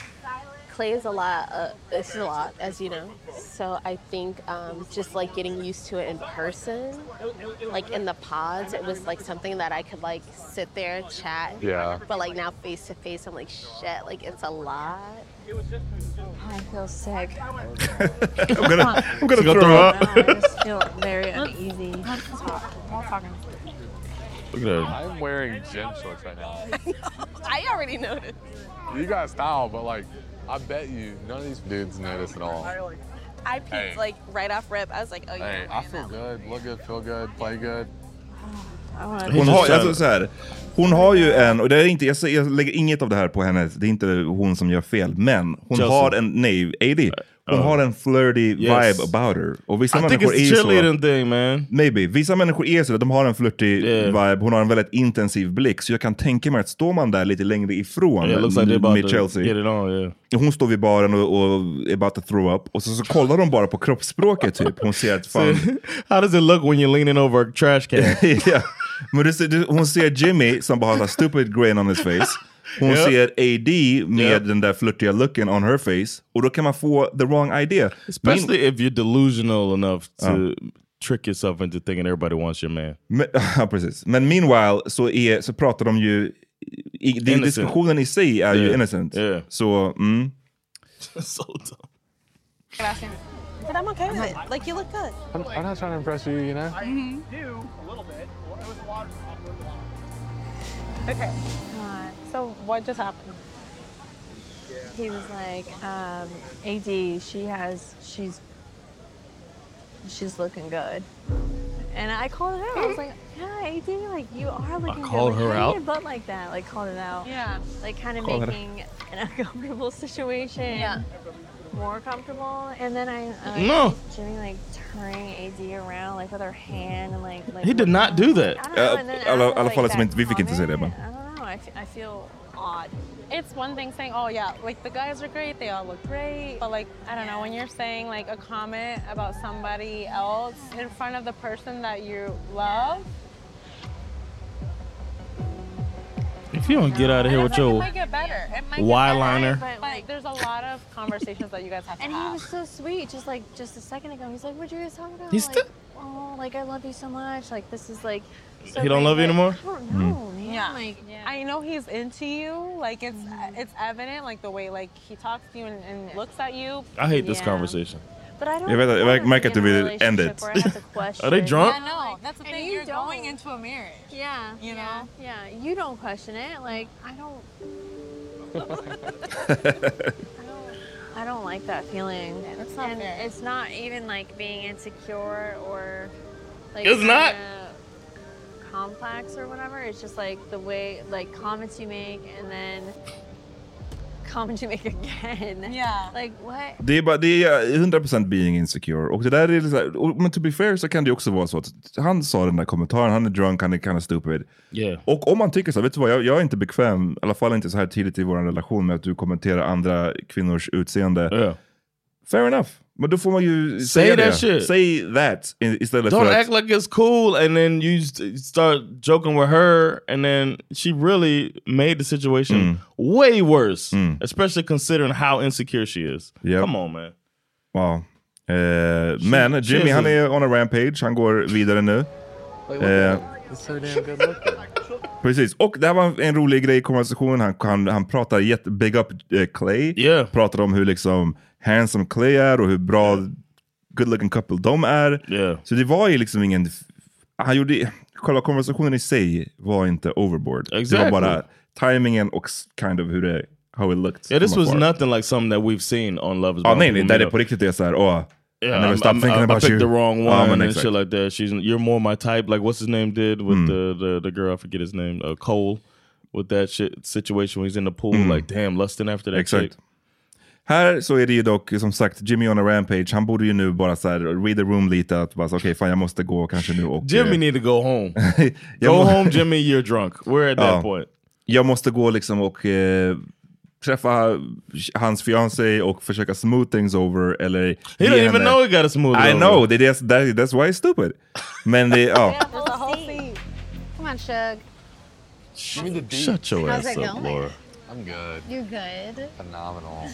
[SPEAKER 17] Clay is a lot. Uh, it's a lot, as you know. So I think um, just like getting used to it in person, like in the pods, it was like something that I could like sit there chat.
[SPEAKER 9] Yeah.
[SPEAKER 17] But like now face to face, I'm like shit. Like it's a lot. I feel sick.
[SPEAKER 16] I'm gonna- I'm
[SPEAKER 1] She's gonna
[SPEAKER 16] gonna
[SPEAKER 1] throw throw up. up.
[SPEAKER 16] I just feel
[SPEAKER 17] very uneasy.
[SPEAKER 1] Look at her.
[SPEAKER 9] I'm wearing gym shorts right now.
[SPEAKER 17] I already noticed.
[SPEAKER 9] You got style, but like, I bet you none of these dudes notice at all.
[SPEAKER 14] I peeped
[SPEAKER 9] Oh. Hey.
[SPEAKER 14] like right off rip. I was like, oh yeah.
[SPEAKER 9] Hey, I feel good, look good, feel good, play good.
[SPEAKER 2] Hon har, alltså, så här, hon har ju en, och det är inte, jag, säger- jag lägger inget av det här på henne, det är inte hon som gör fel, men hon
[SPEAKER 1] Chelsea.
[SPEAKER 2] har en, nej, AD. Hon har en flirty vibe about her. Och vissa
[SPEAKER 1] I think
[SPEAKER 2] människor
[SPEAKER 1] it's
[SPEAKER 2] är ju så.
[SPEAKER 1] cheerleading thing man.
[SPEAKER 2] Maybe. Vissa människor är så, de har en flirty vibe, hon har en väldigt intensiv blick. Så jag kan tänka mig att står man där lite längre ifrån
[SPEAKER 1] Yeah, it looks like they're about
[SPEAKER 2] med
[SPEAKER 1] to
[SPEAKER 2] Chelsea.
[SPEAKER 1] get it on, yeah.
[SPEAKER 2] Hon står vid baren och, och är about to throw up. Och så, så kollar hon bara på kroppsspråket typ. Hon ser att fan...
[SPEAKER 1] How does it look when you're leaning over a trash can?
[SPEAKER 2] yeah. Men det, det, hon ser Jimmy som bara har så här stupid grin on his face. Hon
[SPEAKER 1] Ja.
[SPEAKER 2] ser AD med den där flirtiga looken on her face. Och då kan man få the wrong idea.
[SPEAKER 1] Especially if you're delusional enough to
[SPEAKER 2] Ja.
[SPEAKER 1] trick yourself into thinking everybody wants your man.
[SPEAKER 2] Men, ja, uh, precis. Men meanwhile så, är, så pratar de ju... I, det-
[SPEAKER 1] Innocent.
[SPEAKER 2] diskussionen i sig är ju
[SPEAKER 1] Yeah.
[SPEAKER 2] innocent. Så, mm.
[SPEAKER 11] But I'm okay with it. Like, you look good.
[SPEAKER 9] I'm, I'm not trying to impress you, you know?
[SPEAKER 4] Mm-hmm.
[SPEAKER 11] do a little bit. It was a lot Okay.
[SPEAKER 14] So what just happened? He was like, um, AD, she has, she's, she's looking good. And I called her out. I was like, yeah, AD, like you are looking
[SPEAKER 11] called
[SPEAKER 14] good.
[SPEAKER 11] her
[SPEAKER 14] like,
[SPEAKER 11] out?
[SPEAKER 14] How do you butt like that? Like called it out. Yeah. Like kind of
[SPEAKER 11] Called her-
[SPEAKER 14] making an uncomfortable situation yeah. more comfortable. And then I, uh,
[SPEAKER 1] No.
[SPEAKER 14] Jimmy like turning AD around like with her hand and like, like
[SPEAKER 2] He did not do that.
[SPEAKER 14] I don't know, and then
[SPEAKER 2] alla,
[SPEAKER 14] after,
[SPEAKER 2] alla
[SPEAKER 14] like,
[SPEAKER 2] fall som
[SPEAKER 14] that
[SPEAKER 2] inte, vi fick inte se det. Men.
[SPEAKER 14] I don't know. I, f- I feel odd. It's one thing saying, oh, yeah, like the guys are great, they all look great. But, like, I don't know, when you're saying, like, a comment about somebody else in front of the person that you love,
[SPEAKER 1] If you don't get out of here with your
[SPEAKER 14] might get better. It might
[SPEAKER 1] Y
[SPEAKER 14] get better,
[SPEAKER 1] liner.
[SPEAKER 14] But, like, there's a lot of conversations that you guys have to
[SPEAKER 11] And he
[SPEAKER 14] have.
[SPEAKER 11] was
[SPEAKER 14] so sweet, just like just a second ago. He's like, what you guys talking about?
[SPEAKER 11] He's
[SPEAKER 14] like,
[SPEAKER 11] still-
[SPEAKER 14] oh, like, I love you so much. Like, this is, like, so
[SPEAKER 1] He don't
[SPEAKER 14] great,
[SPEAKER 1] love you
[SPEAKER 14] but
[SPEAKER 1] anymore?
[SPEAKER 14] I don't
[SPEAKER 1] Mm.
[SPEAKER 14] know, man. Like, I know he's into you. Like, it's it's evident, like, the way, like, he talks to you and, and looks at you.
[SPEAKER 1] I hate this conversation.
[SPEAKER 14] But I don't
[SPEAKER 2] Jag vet att- jag märker att du
[SPEAKER 14] wanna be in a
[SPEAKER 2] vill end it.
[SPEAKER 14] relationship where I have to question.
[SPEAKER 1] Are they drunk?
[SPEAKER 14] Yeah, no, that's the thing. You are going into a marriage. Yeah. You know. Yeah, You don't question it. Like I don't. I don't like that feeling. That's not and It's not even like being insecure or like
[SPEAKER 11] It's not.
[SPEAKER 14] kinda complex or whatever. It's just like the way like comments you make and then comments you make again. Yeah. Like what?
[SPEAKER 2] Det är, bara, det är 100% being insecure. Och det där är så här, och, men to be fair så kan det också vara så att han sa den där kommentaren, han är drunk, han är kind of stupid.
[SPEAKER 1] Yeah.
[SPEAKER 2] Och om man tycker så, här, vet du vad, jag, jag är inte bekväm, i alla fall inte så här tidigt i vår relation med att du kommenterar andra kvinnors utseende. Fair enough. Men då får man ju
[SPEAKER 1] Say
[SPEAKER 2] säga
[SPEAKER 1] that
[SPEAKER 2] det.
[SPEAKER 1] shit.
[SPEAKER 2] Say that in, istället
[SPEAKER 1] Don't
[SPEAKER 2] för
[SPEAKER 1] act
[SPEAKER 2] att...
[SPEAKER 1] like it's cool, and then you st- start joking with her, and then she really made the situation
[SPEAKER 2] Mm.
[SPEAKER 1] way worse. Especially considering how insecure she is.
[SPEAKER 2] Yep.
[SPEAKER 1] Come on, man.
[SPEAKER 2] Wow. Eh, men
[SPEAKER 1] she
[SPEAKER 2] Jimmy
[SPEAKER 1] is
[SPEAKER 2] han
[SPEAKER 1] a-
[SPEAKER 2] är on a rampage, han går vidare nu.
[SPEAKER 9] Like, look
[SPEAKER 2] Eh,
[SPEAKER 9] at him. He's so damn good looking.
[SPEAKER 2] Precis, och det här var en rolig grej i konversationen. Han, han, han pratar jätte, big up eh, Clay. Pratar om hur liksom handsome Clay är och hur bra good looking couple de är. Så det var ju liksom ingen... Han gjorde, själva konversationen i sig var inte overboard. Det
[SPEAKER 1] Exactly.
[SPEAKER 2] var bara timingen och s- kind of hur det... How it looked.
[SPEAKER 1] Yeah, this
[SPEAKER 2] from
[SPEAKER 1] was
[SPEAKER 2] afar.
[SPEAKER 1] nothing like something that we've seen on Love Is
[SPEAKER 2] Ja,
[SPEAKER 1] Blind.
[SPEAKER 2] nej, nej,
[SPEAKER 1] People
[SPEAKER 2] där
[SPEAKER 1] meet
[SPEAKER 2] det
[SPEAKER 1] up.
[SPEAKER 2] på riktigt är såhär, åh, I never
[SPEAKER 1] I'm-
[SPEAKER 2] stop
[SPEAKER 1] I'm-
[SPEAKER 2] thinking
[SPEAKER 1] I,
[SPEAKER 2] about
[SPEAKER 1] I picked
[SPEAKER 2] you. Oh,
[SPEAKER 1] the wrong
[SPEAKER 2] Ja,
[SPEAKER 1] one
[SPEAKER 2] men
[SPEAKER 1] and
[SPEAKER 2] exakt.
[SPEAKER 1] shit like that. She's you're more my type. Like what's his name did with
[SPEAKER 2] Mm.
[SPEAKER 1] the, the the girl I forget his name uh, Cole with that shit situation when he's in the pool.
[SPEAKER 2] Mm.
[SPEAKER 1] Like damn, lusting after that
[SPEAKER 2] Exakt.
[SPEAKER 1] chick.
[SPEAKER 2] Här så är det ju dock som sagt Jimmy on a rampage. Han borde ju nu bara så här, read the room lite. Att bara så, okej, fan jag måste gå kanske nu och...
[SPEAKER 1] Jimmy
[SPEAKER 2] eh,
[SPEAKER 1] need to go home.
[SPEAKER 2] jag må-
[SPEAKER 1] go home, Jimmy. You're drunk. We're at that
[SPEAKER 2] Ja.
[SPEAKER 1] point.
[SPEAKER 2] Jag måste gå liksom och eh, träffa hans fiancé och försöka smooth things over. Eller
[SPEAKER 1] He
[SPEAKER 2] ge
[SPEAKER 1] don't even
[SPEAKER 2] henne-
[SPEAKER 1] know he gotta smooth it
[SPEAKER 2] I
[SPEAKER 1] over.
[SPEAKER 2] know, det är det- that, that's why it's stupid. Men det,
[SPEAKER 9] Oh.
[SPEAKER 2] ja.
[SPEAKER 4] There's a whole seat. Come on, Shug.
[SPEAKER 9] Give me the D.
[SPEAKER 1] Shut your
[SPEAKER 4] How's
[SPEAKER 1] ass
[SPEAKER 4] it
[SPEAKER 1] up,
[SPEAKER 4] going?
[SPEAKER 1] Laura.
[SPEAKER 9] I'm good.
[SPEAKER 4] You're good.
[SPEAKER 9] Phenomenal.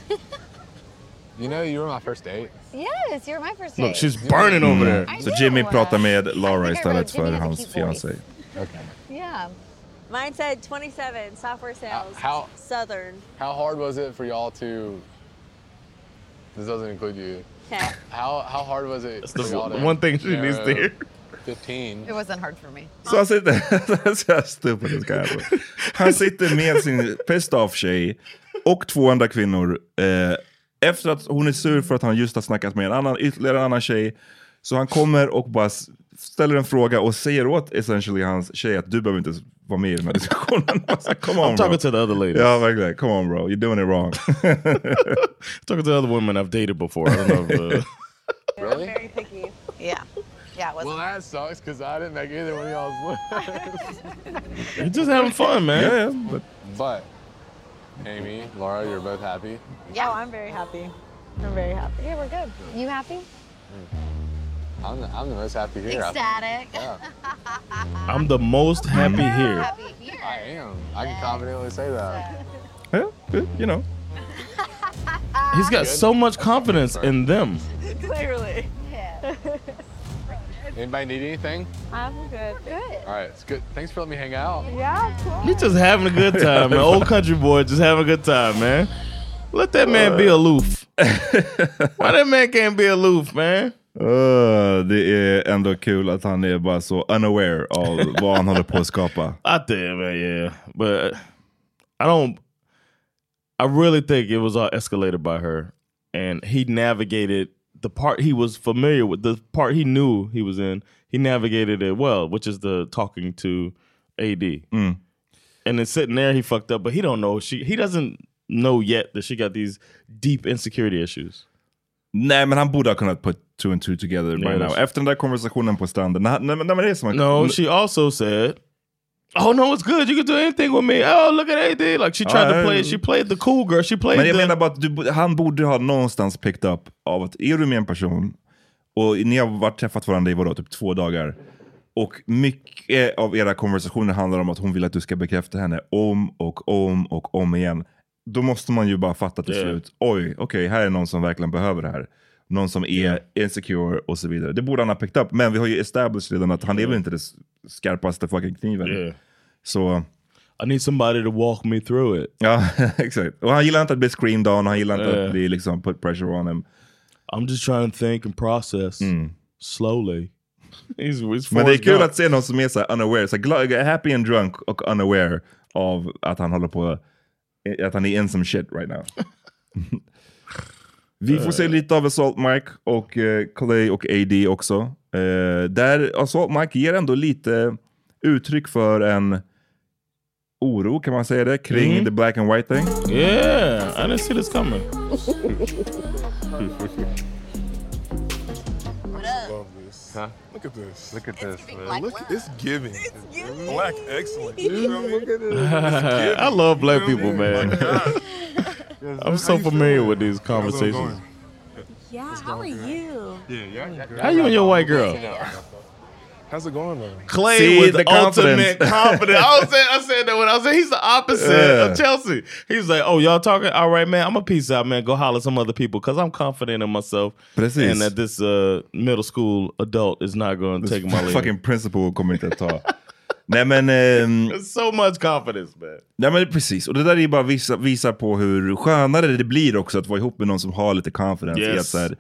[SPEAKER 9] you know, you were my first date.
[SPEAKER 4] Yes, you're my first
[SPEAKER 9] Look,
[SPEAKER 4] date.
[SPEAKER 9] she's burning
[SPEAKER 2] Mm.
[SPEAKER 9] over there.
[SPEAKER 4] I
[SPEAKER 2] Så Jimmy
[SPEAKER 4] know.
[SPEAKER 2] pratar med Laura
[SPEAKER 4] I
[SPEAKER 2] istället
[SPEAKER 4] think I
[SPEAKER 2] för
[SPEAKER 4] wrote Jimmy
[SPEAKER 2] hans fiancé.
[SPEAKER 4] Yeah.
[SPEAKER 14] Mine said 27 software sales.
[SPEAKER 9] how-
[SPEAKER 14] Southern.
[SPEAKER 9] How hard was it for y'all to? This doesn't include you.
[SPEAKER 14] Okay.
[SPEAKER 9] How how hard was it? That's
[SPEAKER 1] the one thing she needs to hear.
[SPEAKER 9] Fifteen.
[SPEAKER 4] It wasn't hard for me.
[SPEAKER 2] Så han sitter, så här stupid this guy was. Han sitter med sin pissed off tjej och två andra kvinnor. Eh, efter att hon är sur för att han just har snackat med en annan, ytterligare en annan tjej. Så han kommer och bara s- ställer en fråga och säger åt essentially hans tjej att du behöver inte vara med i den här diskussionen. Alltså, Come on,
[SPEAKER 1] I'm talking
[SPEAKER 2] bro.
[SPEAKER 1] to the other ladies.
[SPEAKER 2] Ja, verkligen. Come on bro, you're doing it wrong.
[SPEAKER 1] talking to the other women I've dated before. I don't know if, uh,
[SPEAKER 9] Really?
[SPEAKER 4] Very picky. Yeah. Yeah, it was
[SPEAKER 9] Well, that sucks because I didn't make either one of y'all's lists.
[SPEAKER 1] You're just having fun, man.
[SPEAKER 2] Yeah, yeah, but
[SPEAKER 9] But Amy, Laura, you're both happy.
[SPEAKER 4] Yeah.
[SPEAKER 18] Oh, I'm very happy. I'm very happy.
[SPEAKER 4] Yeah, we're good. You happy?
[SPEAKER 9] I'm the, I'm the most happy here. I-
[SPEAKER 4] Ecstatic.
[SPEAKER 9] Yeah.
[SPEAKER 1] I'm the most happy here.
[SPEAKER 9] I am. I can confidently say that.
[SPEAKER 2] You know.
[SPEAKER 1] He's got so much confidence in them.
[SPEAKER 18] Clearly.
[SPEAKER 4] Yeah.
[SPEAKER 9] Anybody need anything?
[SPEAKER 15] I'm good. Good.
[SPEAKER 9] All right, it's good. Thanks for letting me hang out.
[SPEAKER 15] Yeah, cool.
[SPEAKER 1] He's just having a good time, man. Old country boy, just having a good time, man. Let that man be aloof. Why that man can't be aloof, man?
[SPEAKER 2] Uh, det är ändå kul att han är bara så unaware av vad han håller på att skapa.
[SPEAKER 1] Out there, man, yeah. But I don't. I really think it was all escalated by her, and he navigated the part he was familiar with, the part he knew he was in. He navigated it well, which is the talking to AD. Mm. And then sitting there, he fucked up, but he don't know. She he doesn't know yet that she got these deep insecurity issues.
[SPEAKER 2] Nej, men han borde ha kunnat put two and two together by
[SPEAKER 1] Yes.
[SPEAKER 2] now. Efter den där konversationen på stranden. När, när, när man är som
[SPEAKER 1] No, she also said, "Oh no, it's good. You can do anything with me. Oh, look at AD. Like she tried to play. She played the cool girl. She played
[SPEAKER 2] Men jag
[SPEAKER 1] the
[SPEAKER 2] menar bara att du, bo- han borde ha någonstans picked up av att är du med en person och ni har varit träffat varandra i vadå, typ två dagar och mycket av era konversationer handlar om att hon vill att du ska bekräfta henne om och om och om igen. Då måste man ju bara fatta till
[SPEAKER 1] Ja.
[SPEAKER 2] slut, oj, okej, här är någon som verkligen behöver det här. Någon som är insecure och så vidare. Det borde han ha picked up, men vi har ju established redan att han är väl inte den skarpaste fucking kniven. Så...
[SPEAKER 1] I need somebody to walk me through it.
[SPEAKER 2] Ja, exakt. Och han gillar inte att bli screamed on, han gillar inte
[SPEAKER 1] Yeah.
[SPEAKER 2] att bli liksom put pressure on him. Hmm.
[SPEAKER 1] I'm just trying to think and process slowly. He's, he's
[SPEAKER 2] Men det är
[SPEAKER 1] Forrest
[SPEAKER 2] kul
[SPEAKER 1] Gump.
[SPEAKER 2] att se någon som är så här unaware, så här gla- happy and drunk och unaware av att han håller på, eh, att han är in some shit right now. Vi får se lite av Assault Mike och eh, Clay och AD också. Eh, där Assault Mike ger ändå lite uttryck för en oro, kan man säga det, kring
[SPEAKER 1] Mhm.
[SPEAKER 2] the black and white thing.
[SPEAKER 1] Yeah, I didn't see this coming.
[SPEAKER 12] Love this. Look at this. Look at this.
[SPEAKER 9] black
[SPEAKER 12] Look, it's giving. Black excellence.
[SPEAKER 1] I love
[SPEAKER 2] Oh
[SPEAKER 1] black people, man. I'm so familiar with these conversations.
[SPEAKER 12] Yeah, how are you? Yeah, yeah.
[SPEAKER 1] How you and your white girl?
[SPEAKER 12] How's it going, though?
[SPEAKER 1] Clay with the ultimate confidence. I, was saying, I said that when I was saying he's the opposite of
[SPEAKER 12] Yeah.
[SPEAKER 1] Chelsea. He's like, oh, y'all talking? All right, man, I'm a peace out, man. Go holler at some other people because I'm confident in myself.
[SPEAKER 2] Precis.
[SPEAKER 1] And that this uh, middle school adult is not going to
[SPEAKER 2] This
[SPEAKER 1] take my lead.
[SPEAKER 2] fucking principal kommer inte att ta. Nej men... ehm,
[SPEAKER 1] There's so much confidence, man.
[SPEAKER 2] Nej men precis, och det där är ju bara visa, visar på hur skönare det blir också att vara ihop med någon som har lite confidence. I
[SPEAKER 1] Yes.
[SPEAKER 2] att så här,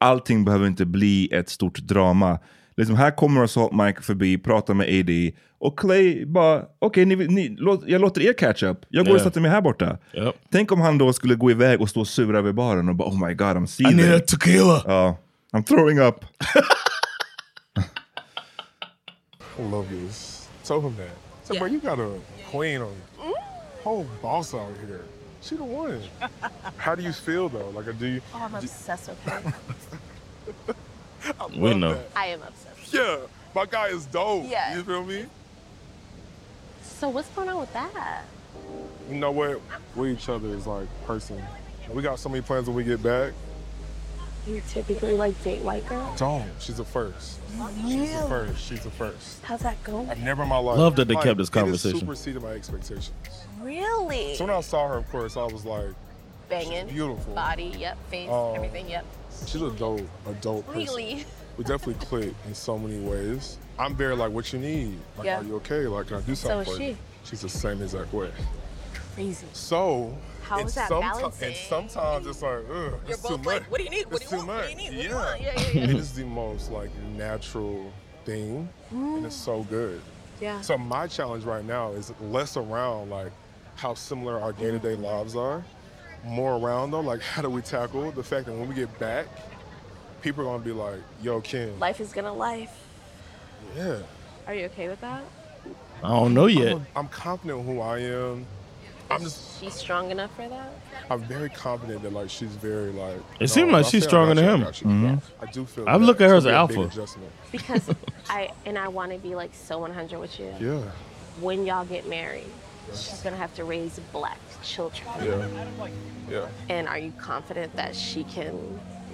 [SPEAKER 2] allting behöver inte bli ett stort drama. Liksom här kommer Assault Mike förbi, pratar med AD och Clay bara, okej ni, ni, låt, jag låter er catch up, jag går och
[SPEAKER 1] Ja.
[SPEAKER 2] sätter mig här borta. Tänk om han då skulle gå iväg och stå och sura vid baren och bara oh my god I'm seething.
[SPEAKER 1] need a tequila.
[SPEAKER 2] Ja, I'm throwing up.
[SPEAKER 12] I love this. Tell him that. So, bro, you got a queen on whole boss out here. She the one. How do you feel though? Like, do you?
[SPEAKER 17] Oh, I'm obsessed with her.
[SPEAKER 1] We know.
[SPEAKER 17] I am obsessed.
[SPEAKER 12] Yeah, my guy is dope.
[SPEAKER 17] Yeah.
[SPEAKER 12] You feel me?
[SPEAKER 17] So what's going on with that?
[SPEAKER 12] You know what? We each other is like person. We got so many plans when we get back.
[SPEAKER 17] You typically like date white girls?
[SPEAKER 12] Don't. She's a first. She's a first. She's a first.
[SPEAKER 17] How's that going?
[SPEAKER 12] I've never in my life.
[SPEAKER 1] Love that they
[SPEAKER 12] like,
[SPEAKER 1] kept this
[SPEAKER 12] it has
[SPEAKER 1] conversation.
[SPEAKER 12] superseded my expectations.
[SPEAKER 17] Really?
[SPEAKER 12] So when I saw her, of course, I was like,
[SPEAKER 17] Banging.
[SPEAKER 12] beautiful.
[SPEAKER 17] Body, yep. Face,
[SPEAKER 12] Oh.
[SPEAKER 17] everything, yep.
[SPEAKER 12] she's a dope adult person.
[SPEAKER 17] Legally.
[SPEAKER 12] We definitely click in so many ways. I'm very like, what you need? Like,
[SPEAKER 17] Yeah.
[SPEAKER 12] are you okay? Like, can I do
[SPEAKER 17] So
[SPEAKER 12] something
[SPEAKER 17] is
[SPEAKER 12] for you?
[SPEAKER 17] she.
[SPEAKER 12] She's the same exact way.
[SPEAKER 17] Crazy.
[SPEAKER 12] So,
[SPEAKER 17] How
[SPEAKER 12] and
[SPEAKER 17] is that
[SPEAKER 12] someti-
[SPEAKER 17] balancing?
[SPEAKER 12] And sometimes it's like, ugh,
[SPEAKER 17] You're
[SPEAKER 12] it's too
[SPEAKER 17] both
[SPEAKER 12] much.
[SPEAKER 17] like, what do you need? What
[SPEAKER 12] It's
[SPEAKER 17] do you
[SPEAKER 12] too
[SPEAKER 17] want? What do
[SPEAKER 12] much.
[SPEAKER 17] you need?
[SPEAKER 12] Yeah.
[SPEAKER 17] What do you want? Yeah, yeah, yeah.
[SPEAKER 12] it is the most like natural thing, and it's so good.
[SPEAKER 17] Yeah.
[SPEAKER 12] So my challenge right now is less around like how similar our day-to-day lives are, more around though like how do we tackle the fact that when we get back, people are gonna be like, "Yo, Ken,
[SPEAKER 17] Life is gonna life.
[SPEAKER 12] Yeah.
[SPEAKER 15] Are you okay with that?
[SPEAKER 1] I don't know yet.
[SPEAKER 12] I'm, I'm confident who I am. I'm just.
[SPEAKER 17] She's strong enough for that.
[SPEAKER 12] I'm very confident that like she's very like.
[SPEAKER 1] It seemed like
[SPEAKER 12] I
[SPEAKER 1] she's
[SPEAKER 12] feel
[SPEAKER 1] stronger
[SPEAKER 12] like
[SPEAKER 1] than
[SPEAKER 12] I
[SPEAKER 1] him.
[SPEAKER 12] got you.
[SPEAKER 1] Mhm.
[SPEAKER 12] I do feel.
[SPEAKER 1] I
[SPEAKER 12] that.
[SPEAKER 1] look at
[SPEAKER 12] It's
[SPEAKER 1] her
[SPEAKER 12] a
[SPEAKER 1] as an
[SPEAKER 12] big
[SPEAKER 1] alpha.
[SPEAKER 12] adjustment.
[SPEAKER 17] Because I and I want to be like so 100 with you.
[SPEAKER 12] Yeah.
[SPEAKER 17] When y'all get married, she's gonna have to raise black children.
[SPEAKER 12] Yeah. Yeah.
[SPEAKER 17] And are you confident that she can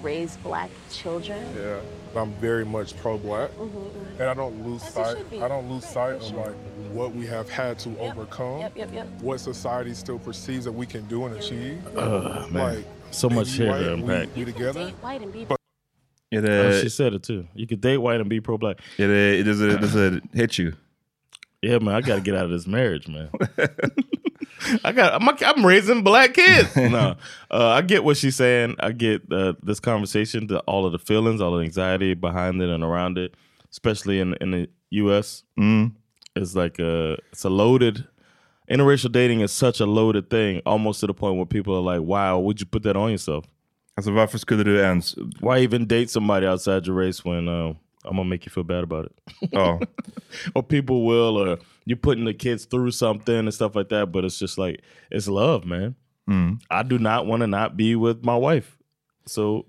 [SPEAKER 17] raise black children?
[SPEAKER 12] Yeah. I'm very much pro-black,
[SPEAKER 17] Mhm.
[SPEAKER 12] and I don't lose
[SPEAKER 17] As you
[SPEAKER 12] sight.
[SPEAKER 17] should be.
[SPEAKER 12] I don't lose sight of
[SPEAKER 17] should.
[SPEAKER 12] like what we have had to overcome.
[SPEAKER 17] yep, yep, yep.
[SPEAKER 12] What society still perceives that we can do and achieve.
[SPEAKER 1] Ugh, man.
[SPEAKER 12] Like
[SPEAKER 1] so
[SPEAKER 12] baby,
[SPEAKER 1] much here
[SPEAKER 12] white,
[SPEAKER 1] to
[SPEAKER 12] we-
[SPEAKER 1] unpack.
[SPEAKER 12] We, together.
[SPEAKER 17] White and be
[SPEAKER 2] Är
[SPEAKER 1] Oh,
[SPEAKER 2] det,
[SPEAKER 1] she said it uh, too. You could date white and be pro black.
[SPEAKER 2] är det, does, it, does
[SPEAKER 1] uh,
[SPEAKER 2] it hit you?
[SPEAKER 1] Yeah, man, I got to get out of this marriage, man. I got. I'm, I'm raising black kids. no, uh, I get what she's saying. I get uh, this conversation, the, all of the feelings, all the anxiety behind it and around it, especially in in the U.S.
[SPEAKER 2] Mm.
[SPEAKER 1] It's like a it's a loaded. Interracial dating is such a loaded thing, almost to the point where people are like, "Wow, would you put that on yourself?"
[SPEAKER 2] Alltså varför skulle du ens?
[SPEAKER 1] Why even date somebody outside your race when uh, I'm gonna make you feel bad about it?
[SPEAKER 2] Oh,
[SPEAKER 1] or people will, or you're putting the kids through something and stuff like that. But it's just like it's love, man.
[SPEAKER 2] Mm.
[SPEAKER 1] I do not want to not be with my wife, so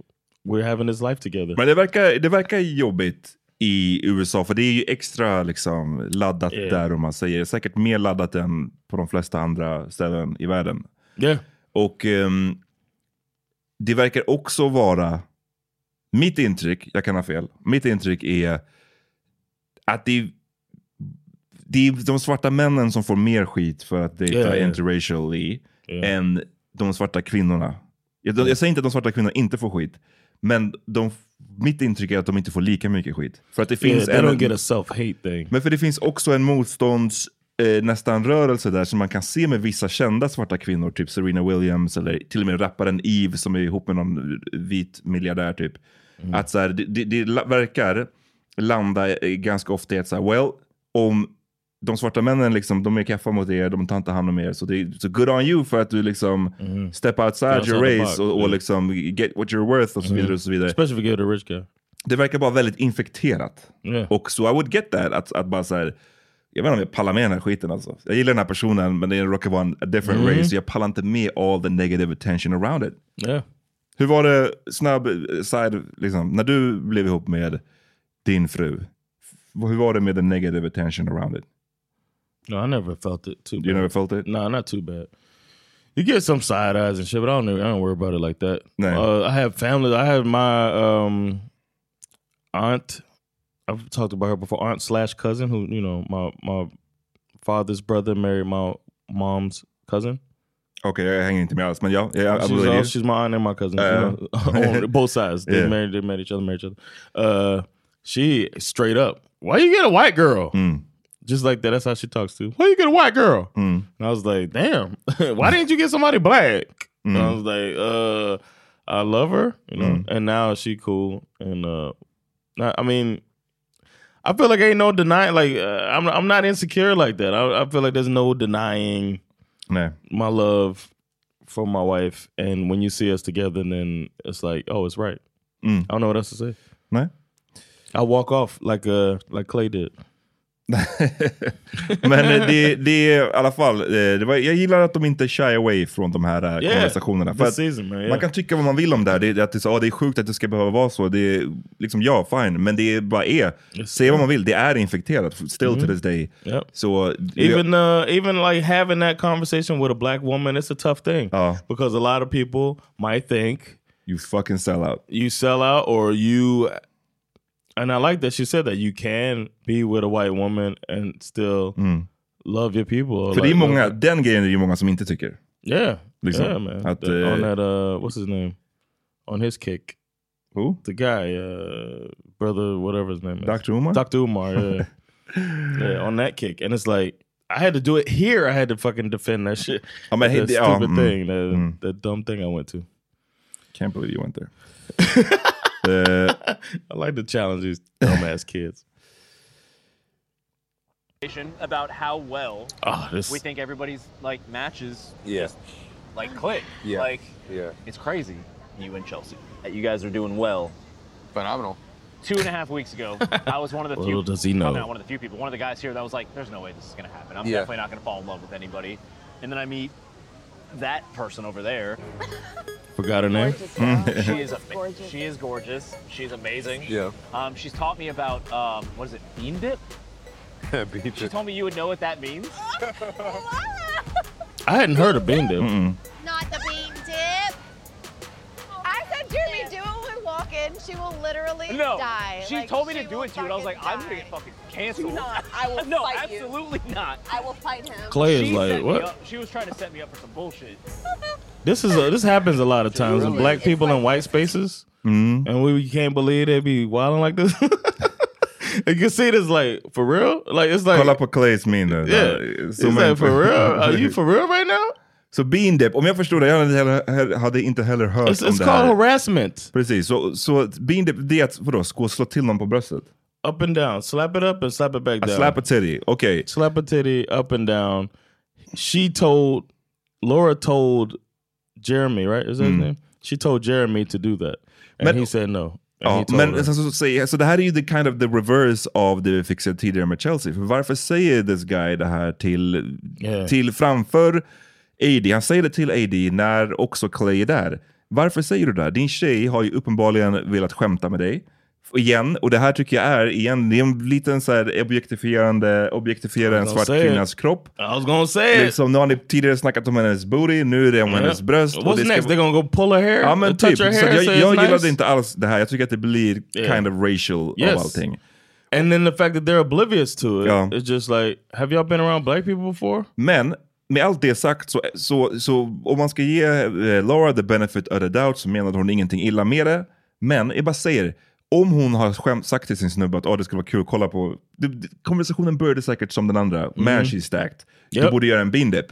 [SPEAKER 1] we're having this life together.
[SPEAKER 2] Men det verkar, det verkar jobbigt i USA, för det är ju extra liksom, laddat
[SPEAKER 1] Yeah.
[SPEAKER 2] där om man säger. Säkert mer laddat än på de flesta andra ställen i världen.
[SPEAKER 1] Yeah.
[SPEAKER 2] Och ehm, det verkar också vara, mitt intryck, jag kan ha fel, mitt intryck är att det är, det är de svarta männen som får mer skit för att dejta
[SPEAKER 1] Yeah, yeah.
[SPEAKER 2] interracially
[SPEAKER 1] Yeah.
[SPEAKER 2] än de svarta kvinnorna. Jag, jag säger inte att de svarta kvinnorna inte får skit, men de, mitt intryck är att de inte får lika mycket skit. För att det
[SPEAKER 1] Yeah,
[SPEAKER 2] finns
[SPEAKER 1] they
[SPEAKER 2] en,
[SPEAKER 1] don't get a self hate thing.
[SPEAKER 2] men för det finns också en motstånds eh, nästan rörelse där som man kan se med vissa kända svarta kvinnor, typ Serena Williams eller till och med rapparen Eve som är ihop med någon vit miljardär typ.
[SPEAKER 1] Mm.
[SPEAKER 2] Att så här, det, det, det la- verkar landa eh, ganska ofta i att så här, well, om de svarta männen liksom, de är kaffa mot er, de tar inte hand om er. Så, det, så good on you för att du liksom step outside
[SPEAKER 1] Mm-hmm. Outside
[SPEAKER 2] your
[SPEAKER 1] the box,
[SPEAKER 2] race och, och
[SPEAKER 1] yeah. Mm-hmm.
[SPEAKER 2] liksom get what you're worth och så vidare. Och så vidare.
[SPEAKER 1] Especially if you get a rich guy.
[SPEAKER 2] Det verkar bara väldigt infekterat.
[SPEAKER 1] Yeah.
[SPEAKER 2] Och så I would get that, att, att bara så här, jag vet inte om jag pallar med den här skiten alltså. Jag gillar den här personen men det råkar vara en a different
[SPEAKER 1] Mm.
[SPEAKER 2] race. Jag pallar inte med all the negative attention around it.
[SPEAKER 1] Yeah.
[SPEAKER 2] Hur var det, snabb eh, side, liksom, när du blev ihop med din fru, f- hur var det med the negative attention around it?
[SPEAKER 1] No, I never felt it too. You
[SPEAKER 2] never felt it?
[SPEAKER 1] No, not too bad. You get some side eyes and shit, but I don't. I don't worry about it like that. Uh, I have family. I have my um, aunt. I've talked about her before. Aunt slash cousin, who you know, my my father's brother married my mom's cousin.
[SPEAKER 2] Okay, jag hänger inte med alls, men ja. jag- I
[SPEAKER 1] she's,
[SPEAKER 2] believe you.
[SPEAKER 1] all, she's my aunt and my cousin. you
[SPEAKER 2] Uh,
[SPEAKER 1] know, on both sides. They
[SPEAKER 2] Yeah.
[SPEAKER 1] married. They met each other. Married each other. Uh, she straight up. Why you get a white girl? Just like that. That's how she talks to. Why you get a white girl? And I was like, damn. Why didn't you get somebody black? And I was like, uh, I love her. You know. And now she cool. And uh, I, I mean. I feel like ain't no denying. Like uh, I'm, I'm not insecure like that. I, I feel like there's no denying my love for my wife. And when you see us together, then it's like, oh, it's right.
[SPEAKER 2] Mm.
[SPEAKER 1] I don't know what else to say.
[SPEAKER 2] Nej.
[SPEAKER 1] I walk off like uh like Clay did.
[SPEAKER 2] Men eh, det, det är i alla fall, eh, det var, jag gillar att de inte shy away från de här eh,
[SPEAKER 1] Yeah,
[SPEAKER 2] konversationerna.
[SPEAKER 1] this
[SPEAKER 2] att
[SPEAKER 1] season, man, yeah.
[SPEAKER 2] Man kan tycka vad man vill om det här, det, är att det, är så, ah, det är sjukt att det ska behöva vara så. Det är, liksom, ja, fine, men det är bara är. Säg vad man vill, det är infekterat still to
[SPEAKER 1] Mm.
[SPEAKER 2] this day.
[SPEAKER 1] Yep.
[SPEAKER 2] Så,
[SPEAKER 1] Even uh, even like having that conversation with a black woman, it's a tough thing because a lot of people might think
[SPEAKER 2] Oh. you fucking sell out.
[SPEAKER 1] You sell out, or you. And I like that she said that you can be with a white woman and still
[SPEAKER 2] Mm.
[SPEAKER 1] love your people. or
[SPEAKER 2] för det är
[SPEAKER 1] like,
[SPEAKER 2] många, den grejen är det ju många som inte tycker.
[SPEAKER 1] Yeah,
[SPEAKER 2] Liksom,
[SPEAKER 1] yeah, man.
[SPEAKER 2] Att,
[SPEAKER 1] That- on
[SPEAKER 2] eh,
[SPEAKER 1] that, uh, what's his name? On his kick.
[SPEAKER 2] Who?
[SPEAKER 1] The guy, uh, brother, whatever his name is.
[SPEAKER 2] Dr. Umar?
[SPEAKER 1] Dr. Umar, yeah. yeah, on that kick. And it's like, I had to do it here. I had to fucking defend that shit.
[SPEAKER 2] I mean, he-
[SPEAKER 1] that
[SPEAKER 2] oh,
[SPEAKER 1] stupid
[SPEAKER 2] mm,
[SPEAKER 1] thing, that, that dumb thing I went to.
[SPEAKER 2] Can't believe you went there.
[SPEAKER 1] I like to challenge these dumbass kids.
[SPEAKER 19] conversation about how well
[SPEAKER 1] Ah, this-
[SPEAKER 19] we think everybody's like matches
[SPEAKER 1] Yeah.
[SPEAKER 19] like click.
[SPEAKER 1] Yeah.
[SPEAKER 19] Like
[SPEAKER 9] yeah.
[SPEAKER 19] It's crazy, you and Chelsea, that you guys are doing well.
[SPEAKER 9] Phenomenal.
[SPEAKER 3] two and a half weeks ago, I was one of the few.
[SPEAKER 1] Little does he know.
[SPEAKER 3] I'm not one of the few people. One of the guys here that was like, "There's no way this is gonna happen. I'm
[SPEAKER 1] Yeah.
[SPEAKER 3] definitely not gonna fall in love with anybody." And then I meet that person over there.
[SPEAKER 1] Forgot her name.
[SPEAKER 3] she is gorgeous. she is gorgeous. She's amazing.
[SPEAKER 1] Yeah.
[SPEAKER 3] Um, she's taught me about um, what is it, bean dip? She told me you would know what that means.
[SPEAKER 10] Ah.
[SPEAKER 1] I hadn't heard of Bean Dip.
[SPEAKER 10] Not the bean dip.
[SPEAKER 11] I said, Jeremy, do it when we walk in. She will literally
[SPEAKER 3] no,
[SPEAKER 11] die.
[SPEAKER 3] she
[SPEAKER 11] Like,
[SPEAKER 3] told me
[SPEAKER 11] she
[SPEAKER 3] to do
[SPEAKER 11] will
[SPEAKER 3] it to you, and I was like,
[SPEAKER 11] fucking
[SPEAKER 3] I'm gonna
[SPEAKER 11] die.
[SPEAKER 3] get fucking canceled.
[SPEAKER 11] Do not. I will
[SPEAKER 3] no,
[SPEAKER 11] fight you.
[SPEAKER 3] absolutely not.
[SPEAKER 11] I will fight him.
[SPEAKER 1] Clay is
[SPEAKER 3] She
[SPEAKER 1] like,
[SPEAKER 3] set me
[SPEAKER 1] "What?"
[SPEAKER 3] up- She was trying to set me up for some bullshit.
[SPEAKER 1] This is a, this happens a lot of times with black people in white spaces,
[SPEAKER 2] Mm-hmm.
[SPEAKER 1] and we, we can't believe they be wilding like this. you can see this like for real, like it's like
[SPEAKER 2] Kolla på Clays min nu.
[SPEAKER 1] Yeah. He's like, "For real? Are you for real right now?
[SPEAKER 2] Så bean dip, om jag förstod det, jag hade inte heller, hade inte heller hört
[SPEAKER 1] It's-
[SPEAKER 2] om
[SPEAKER 1] it's
[SPEAKER 2] det här.
[SPEAKER 1] called harassment.
[SPEAKER 2] Precis, så, så bean dip, det är att vadå, gå och slå till någon på bröstet?
[SPEAKER 1] up and down, slap it up and slap it back
[SPEAKER 2] I
[SPEAKER 1] down.
[SPEAKER 2] slap a titty. Okay.
[SPEAKER 1] Slap a titty up and down. She told Laura told Jeremy, right? Is that his
[SPEAKER 2] Mm.
[SPEAKER 1] name? She told Jeremy to do that. And
[SPEAKER 2] Men-
[SPEAKER 1] he said no. And he
[SPEAKER 2] Ja,
[SPEAKER 1] told her.
[SPEAKER 2] Oh, men alltså, så, så, säger- så det här är ju the kind of the reverse av det vi fick se tidigare med Chelsea. För varför säger this guy det här till,
[SPEAKER 1] Yeah.
[SPEAKER 2] till framför AD? Han säger det till AD när också Clay är där. Varför säger du det här? Din tjej har ju uppenbarligen velat skämta med dig. Igen, och det här tycker jag är igen, det är en liten så här objektifierande, objektifiera
[SPEAKER 1] I
[SPEAKER 2] en
[SPEAKER 1] was gonna
[SPEAKER 2] svart
[SPEAKER 1] say it.
[SPEAKER 2] kvinnas kropp.
[SPEAKER 1] I was gonna say it.
[SPEAKER 2] Liksom, nu har ni tidigare snackat om hennes booty, nu är det om
[SPEAKER 1] Yeah.
[SPEAKER 2] hennes bröst. och
[SPEAKER 1] What's
[SPEAKER 2] det ska-
[SPEAKER 1] next? They're gonna go pull her hair?
[SPEAKER 2] Ja men
[SPEAKER 1] touch
[SPEAKER 2] typ. Så
[SPEAKER 1] her
[SPEAKER 2] att
[SPEAKER 1] hair?
[SPEAKER 2] jag
[SPEAKER 1] say it's
[SPEAKER 2] jag gillade
[SPEAKER 1] nice?
[SPEAKER 2] inte alls det här. Jag tycker att det blir
[SPEAKER 1] Yeah.
[SPEAKER 2] kind of racial
[SPEAKER 1] Yes.
[SPEAKER 2] av allting.
[SPEAKER 1] And then the fact that they're oblivious to it.
[SPEAKER 2] Ja.
[SPEAKER 1] It's just like, have y'all been around black people before?
[SPEAKER 2] Men med allt det sagt så, så, så om man ska ge eh, Laura the benefit of the doubt så menade hon ingenting illa med det. Men jag bara säger, om hon har skämt, sagt till sin snubbe att oh, det skulle vara kul att kolla på. Det, det, konversationen började säkert som den andra. Man she's stacked. Du
[SPEAKER 1] Mm. Yep.
[SPEAKER 2] borde göra en bindip.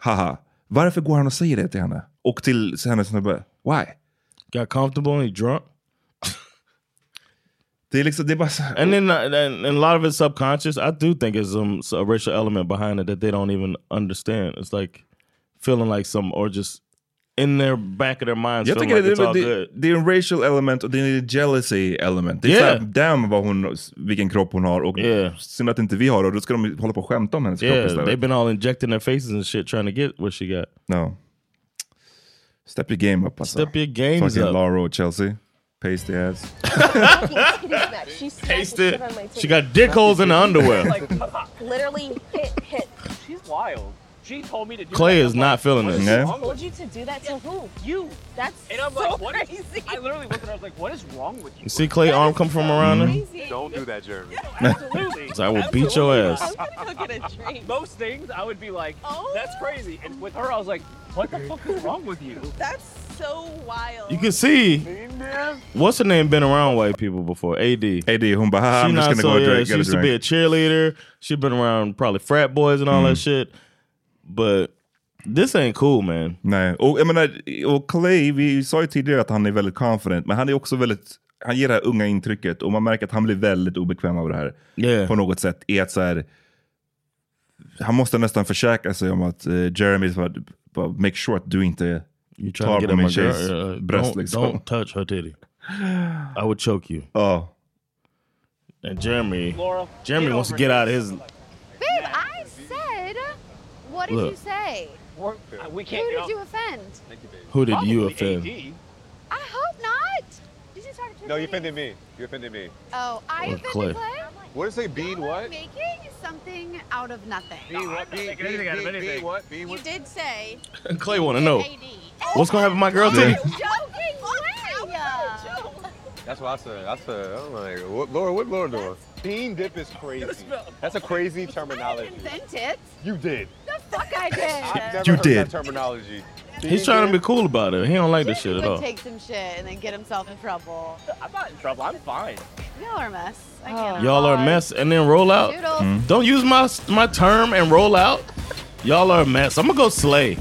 [SPEAKER 2] Haha. Varför går han och säger det till henne? Och till hennes snubbe? Why?
[SPEAKER 1] Got comfortable and he drunk?
[SPEAKER 2] Det är liksom, det är bara så
[SPEAKER 1] And then uh, and, and a lot of it's subconscious. I do think it's some a racial element behind it that they don't even understand. It's like feeling like some or just in their back of their minds
[SPEAKER 2] Jag
[SPEAKER 1] feeling
[SPEAKER 2] tycker
[SPEAKER 1] like
[SPEAKER 2] det,
[SPEAKER 1] it's all
[SPEAKER 2] det,
[SPEAKER 1] good.
[SPEAKER 2] det, det är en racial element och det är en jealousy element. Det är
[SPEAKER 1] Yeah.
[SPEAKER 2] yeah. damn vad hon, vilken kropp hon har och synd att inte vi har det. Och då ska de hålla på och skämta om hennes kropp
[SPEAKER 1] Yeah,
[SPEAKER 2] istället.
[SPEAKER 1] they've been all injecting their faces and shit trying to get what she got.
[SPEAKER 2] No. Step your game up alltså.
[SPEAKER 1] Step your games
[SPEAKER 2] Fucking
[SPEAKER 1] up.
[SPEAKER 2] Laura och Chelsea. Pace the ass.
[SPEAKER 1] Pasted. She got dick holes in her underwear.
[SPEAKER 11] Literally hit, hit.
[SPEAKER 3] She's wild. She told me to do
[SPEAKER 1] Clay
[SPEAKER 3] that.
[SPEAKER 1] is not feeling
[SPEAKER 3] What
[SPEAKER 1] this.
[SPEAKER 3] is wrong
[SPEAKER 1] Yeah.
[SPEAKER 3] with
[SPEAKER 11] Told you to do that to who?
[SPEAKER 3] You.
[SPEAKER 11] That's
[SPEAKER 3] And I'm
[SPEAKER 11] so
[SPEAKER 3] like, what is-
[SPEAKER 11] crazy.
[SPEAKER 3] I literally looked at her, I was like, what is wrong with you?
[SPEAKER 1] You see Clay arm come from around her?
[SPEAKER 3] Don't do that, Jeremy.
[SPEAKER 1] Absolutely. So I will beat your ass.
[SPEAKER 3] gonna go get a drink. Most things I would be like,
[SPEAKER 11] Oh.
[SPEAKER 3] that's crazy. And with her, I was like, what the fuck is wrong with you?
[SPEAKER 11] That's so wild.
[SPEAKER 1] You can see what's her name been around white people before? AD.
[SPEAKER 2] AD. Whom by I'm just gonna go drink, get
[SPEAKER 1] She
[SPEAKER 2] a
[SPEAKER 1] used to be a
[SPEAKER 2] drink. Mm.
[SPEAKER 1] cheerleader. She been around probably frat boys and all that shit. But this ain't cool man.
[SPEAKER 2] Nej, och jag menar, och Clay, vi sa ju tidigare att han är väldigt confident, men han är också väldigt, han ger det här unga intrycket och man märker att han blir väldigt obekväm av det här. På något sätt. Är att så här, han måste nästan försäkra sig om att eh, Jeremy, så här, bara, make sure att du inte
[SPEAKER 1] trying to
[SPEAKER 2] tar
[SPEAKER 1] get
[SPEAKER 2] på
[SPEAKER 1] at my
[SPEAKER 2] min
[SPEAKER 1] girl.
[SPEAKER 2] tjejs
[SPEAKER 1] Uh,
[SPEAKER 2] bröst.
[SPEAKER 1] don't-
[SPEAKER 2] Liksom.
[SPEAKER 1] don't touch her titty. I would choke you.
[SPEAKER 2] Oh.
[SPEAKER 1] And Jeremy
[SPEAKER 11] Laura,
[SPEAKER 1] Jeremy
[SPEAKER 11] get
[SPEAKER 1] wants to
[SPEAKER 11] over
[SPEAKER 1] get
[SPEAKER 11] it.
[SPEAKER 1] out of his
[SPEAKER 4] Babe, I said, what did you
[SPEAKER 1] Look.
[SPEAKER 4] say?
[SPEAKER 3] Uh, We
[SPEAKER 4] Who
[SPEAKER 3] can't get
[SPEAKER 4] did
[SPEAKER 3] off-
[SPEAKER 4] you offend?
[SPEAKER 1] Who did you
[SPEAKER 3] Probably
[SPEAKER 1] offend?
[SPEAKER 3] AD.
[SPEAKER 4] I hope not. Did you talk to
[SPEAKER 6] No, you offended me. You offended me.
[SPEAKER 4] Oh, I
[SPEAKER 6] Or
[SPEAKER 4] offended
[SPEAKER 6] Clay.
[SPEAKER 4] Clay?
[SPEAKER 6] What did it say? Bean what?
[SPEAKER 4] Making something out of nothing.
[SPEAKER 6] Bean what? Bean, bean, bean, bean, bean what? Bean
[SPEAKER 4] You
[SPEAKER 6] what?
[SPEAKER 4] did say.
[SPEAKER 1] Clay wanna know. What's gonna happen to my girl
[SPEAKER 6] Yeah.
[SPEAKER 1] titty?
[SPEAKER 4] Joking way.
[SPEAKER 6] That's what I said. I said, I'm like, what, Laura, what Laura doing? Bean dip is crazy. That's a crazy terminology.
[SPEAKER 4] Invent it.
[SPEAKER 6] You did.
[SPEAKER 4] The fuck I
[SPEAKER 6] I've
[SPEAKER 4] did.
[SPEAKER 6] never
[SPEAKER 1] You
[SPEAKER 6] heard
[SPEAKER 1] did.
[SPEAKER 6] that terminology.
[SPEAKER 1] He's trying to be cool about it. He don't like this shit at
[SPEAKER 4] would
[SPEAKER 1] all.
[SPEAKER 4] take some shit and then get himself in trouble.
[SPEAKER 3] I'm not in trouble. I'm fine.
[SPEAKER 4] Y'all are a mess. I can't.
[SPEAKER 1] Oh. Y'all are a mess and then roll out.
[SPEAKER 4] Doodles.
[SPEAKER 1] Don't use my my term and roll out. Y'all are a mess. I'm gonna go slay.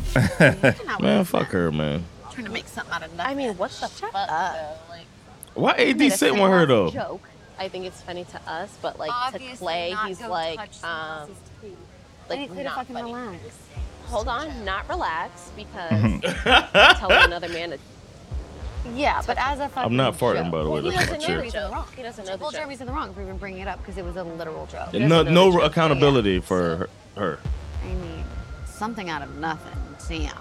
[SPEAKER 1] man, fuck her, man.
[SPEAKER 4] Trying to make something out of nothing. I mean, what the fuck? Up.
[SPEAKER 1] Why AD sitting with her though?
[SPEAKER 17] Joke. I think it's funny to us, but like to
[SPEAKER 4] Obviously
[SPEAKER 17] Clay,
[SPEAKER 4] not
[SPEAKER 17] he's
[SPEAKER 4] go touch
[SPEAKER 17] like,
[SPEAKER 4] someone
[SPEAKER 17] um,
[SPEAKER 4] else's
[SPEAKER 17] like
[SPEAKER 4] Clay to
[SPEAKER 17] not
[SPEAKER 4] fucking
[SPEAKER 17] funny. Hold on, not relax because
[SPEAKER 4] Mhm.
[SPEAKER 1] Mm-hmm.
[SPEAKER 17] telling another man to
[SPEAKER 4] Yeah, but as a fucking
[SPEAKER 1] not farting,
[SPEAKER 4] joke.
[SPEAKER 1] by the way,
[SPEAKER 4] He
[SPEAKER 1] that's
[SPEAKER 4] doesn't
[SPEAKER 1] my
[SPEAKER 4] know
[SPEAKER 1] chair.
[SPEAKER 4] he's in the wrong. He doesn't know. Well, Jeremy's in the wrong for even bringing it up because it was a literal joke.
[SPEAKER 1] No, no accountability for her, her.
[SPEAKER 4] I mean, something out of nothing. Damn.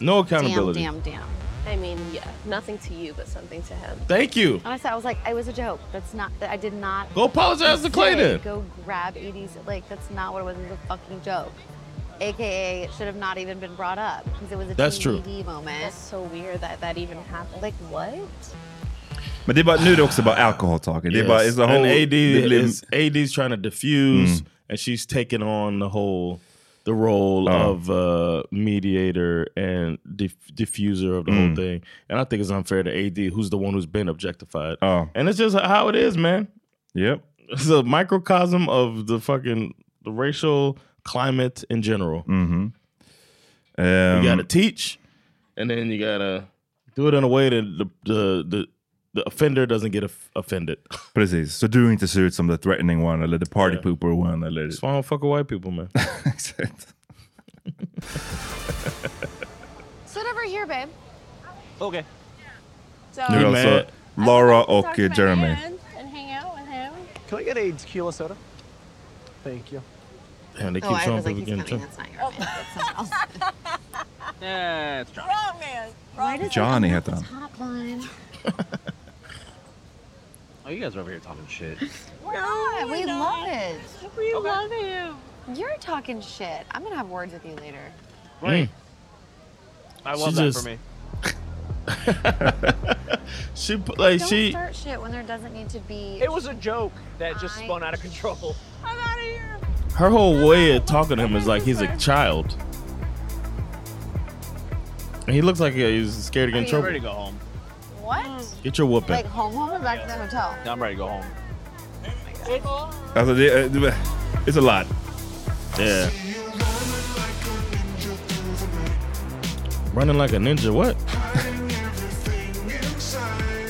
[SPEAKER 1] No accountability.
[SPEAKER 4] Damn, damn, damn.
[SPEAKER 17] I mean, yeah, nothing to you, but something to him.
[SPEAKER 1] Thank you.
[SPEAKER 4] And I said, I was like, it was a joke. That's not. I did not.
[SPEAKER 1] Go apologize to
[SPEAKER 4] You
[SPEAKER 1] Clay
[SPEAKER 4] did
[SPEAKER 1] then.
[SPEAKER 4] Go grab Edie's. Like that's not what it was. It was a fucking joke. AKA, it should have not even been brought up because it was a
[SPEAKER 1] That's true.
[SPEAKER 4] TBD moment. That's so weird that that even happened. Like what?
[SPEAKER 2] Men det är bara, nu är det också bara alcohol talking. Det är bara, it's the Mm.
[SPEAKER 1] and
[SPEAKER 2] whole...
[SPEAKER 1] AD
[SPEAKER 2] det blir-
[SPEAKER 1] is AD's trying to diffuse, and she's taking on the whole the role
[SPEAKER 2] Uh.
[SPEAKER 1] of uh, mediator and dif- diffuser of the whole
[SPEAKER 2] Mm.
[SPEAKER 1] thing. And I think it's unfair to AD, who's the one who's been objectified. Oh. And it's just how it is, man.
[SPEAKER 2] Yep.
[SPEAKER 1] It's a microcosm of the fucking the racial climate in general.
[SPEAKER 2] Mm-hmm. Um,
[SPEAKER 1] you gotta teach, and then you gotta do it in a way that the the the, the offender doesn't get off- offended.
[SPEAKER 2] Precis, så du inte ser ut som the threatening one eller the party
[SPEAKER 1] Yeah.
[SPEAKER 2] pooper one eller...
[SPEAKER 1] That's why I don't fuck with white people, man.
[SPEAKER 2] Exakt.
[SPEAKER 14] Sit over here, babe.
[SPEAKER 19] Okay.
[SPEAKER 14] So
[SPEAKER 2] Nu är det alltså Laura och eh, Jeremy.
[SPEAKER 14] and, and hang out with him.
[SPEAKER 19] Can I get a tequila soda? Thank you.
[SPEAKER 1] And they
[SPEAKER 19] Oh,
[SPEAKER 1] keep
[SPEAKER 19] I
[SPEAKER 1] showing
[SPEAKER 19] was like,
[SPEAKER 1] people
[SPEAKER 19] he's
[SPEAKER 1] getting
[SPEAKER 19] coming,
[SPEAKER 1] drunk.
[SPEAKER 11] Oh,
[SPEAKER 19] Yeah, it's John.
[SPEAKER 4] Why does it
[SPEAKER 2] Johnny
[SPEAKER 4] come
[SPEAKER 2] heter
[SPEAKER 4] up
[SPEAKER 2] han.
[SPEAKER 4] the top line?
[SPEAKER 19] Oh, you guys are over here talking shit.
[SPEAKER 4] No, we love it.
[SPEAKER 14] We love him.
[SPEAKER 4] You're talking shit. I'm gonna have words with you later.
[SPEAKER 19] Right.
[SPEAKER 1] Mm.
[SPEAKER 19] I
[SPEAKER 1] She
[SPEAKER 19] love that
[SPEAKER 1] just-
[SPEAKER 19] for me.
[SPEAKER 1] She put- like
[SPEAKER 4] Don't
[SPEAKER 1] she
[SPEAKER 4] start shit when there doesn't need to be.
[SPEAKER 19] It was a joke that just spun out of control.
[SPEAKER 1] her whole way of talking to him is like he's a child. And he looks like he's scared to get in
[SPEAKER 4] Are you
[SPEAKER 1] trouble.
[SPEAKER 4] ready to
[SPEAKER 19] go home?
[SPEAKER 4] What?
[SPEAKER 3] Hmm.
[SPEAKER 1] Get your whooping.
[SPEAKER 4] Like home, home, or back to the hotel?
[SPEAKER 19] I'm ready to go home.
[SPEAKER 2] Alltså det, eh, det, it's a lot.
[SPEAKER 1] Yeah. Running like a ninja, what?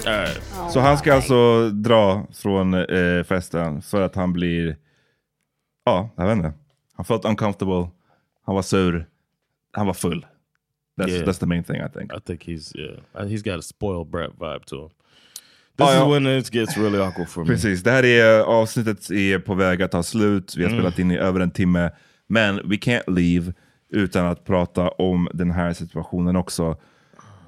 [SPEAKER 1] All right.
[SPEAKER 19] oh
[SPEAKER 2] Så han ska alltså dra från eh, festen för att han blir... Ja, jag vet inte. Han felt uncomfortable. Han var sur. Han var full. That's,
[SPEAKER 1] Yeah.
[SPEAKER 2] that's the main thing I think. Oh,
[SPEAKER 1] I think he's yeah. Uh, He's got a spoiled brat vibe to him.
[SPEAKER 2] Ja,
[SPEAKER 1] This
[SPEAKER 2] ja.
[SPEAKER 1] is when it gets really awkward for me.
[SPEAKER 2] Precis, det här är eh, avsnittet är på väg att ta slut. Vi har
[SPEAKER 1] Mm.
[SPEAKER 2] spelat in i över en timme. Men we can't leave utan att prata om den här situationen också.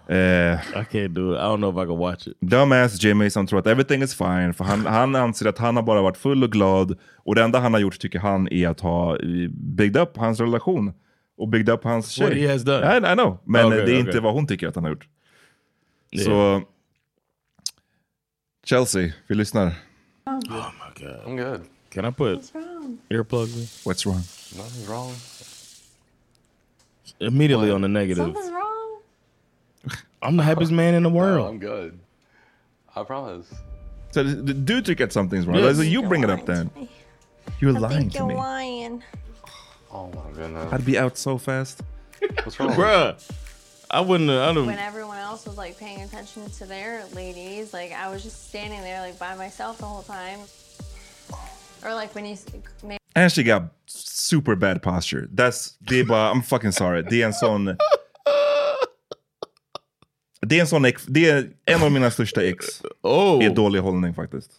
[SPEAKER 2] Eh,
[SPEAKER 1] I can't do it. I don't know if I can watch it.
[SPEAKER 2] Dumbass Jimmy som tror att everything is fine. För han, han anser att han har bara varit full och glad. Och det enda han har gjort tycker han är att ha eh, byggt upp hans relation. Och byggt upp hans tjej.
[SPEAKER 1] What he has done.
[SPEAKER 2] I, I know. Men
[SPEAKER 1] Okay,
[SPEAKER 2] eh, det är inte
[SPEAKER 1] okay.
[SPEAKER 2] vad hon tycker att han har gjort.
[SPEAKER 1] Yeah.
[SPEAKER 2] Så... Chelsea, vi lyssnar.
[SPEAKER 1] Oh my god.
[SPEAKER 9] I'm good.
[SPEAKER 1] Can I put
[SPEAKER 9] wrong?
[SPEAKER 1] earplugs in?
[SPEAKER 2] What's wrong?
[SPEAKER 9] Nothing's wrong.
[SPEAKER 1] Immediately on the negative.
[SPEAKER 9] wrong.
[SPEAKER 1] I'm the happiest man in the world.
[SPEAKER 9] I'm good. I promise.
[SPEAKER 2] So d- d- do to get something's wrong.
[SPEAKER 9] Yes.
[SPEAKER 2] So you bring it up then. You're lying to me.
[SPEAKER 14] lying.
[SPEAKER 9] Oh my goodness.
[SPEAKER 2] I'd be out so fast.
[SPEAKER 9] What's
[SPEAKER 1] wrong? Bruh, I wouldn't. I
[SPEAKER 14] When
[SPEAKER 1] don't.
[SPEAKER 14] everyone else was like paying attention to their ladies, like I was just standing there like by myself the whole time. Or like when you s- maybe
[SPEAKER 2] And she got super bad posture. That's det är bara, I'm fucking sorry. Det är en sån... Det är en sån ex, det är en av mina största ex.
[SPEAKER 1] Oh.
[SPEAKER 2] Är dålig hållning faktiskt.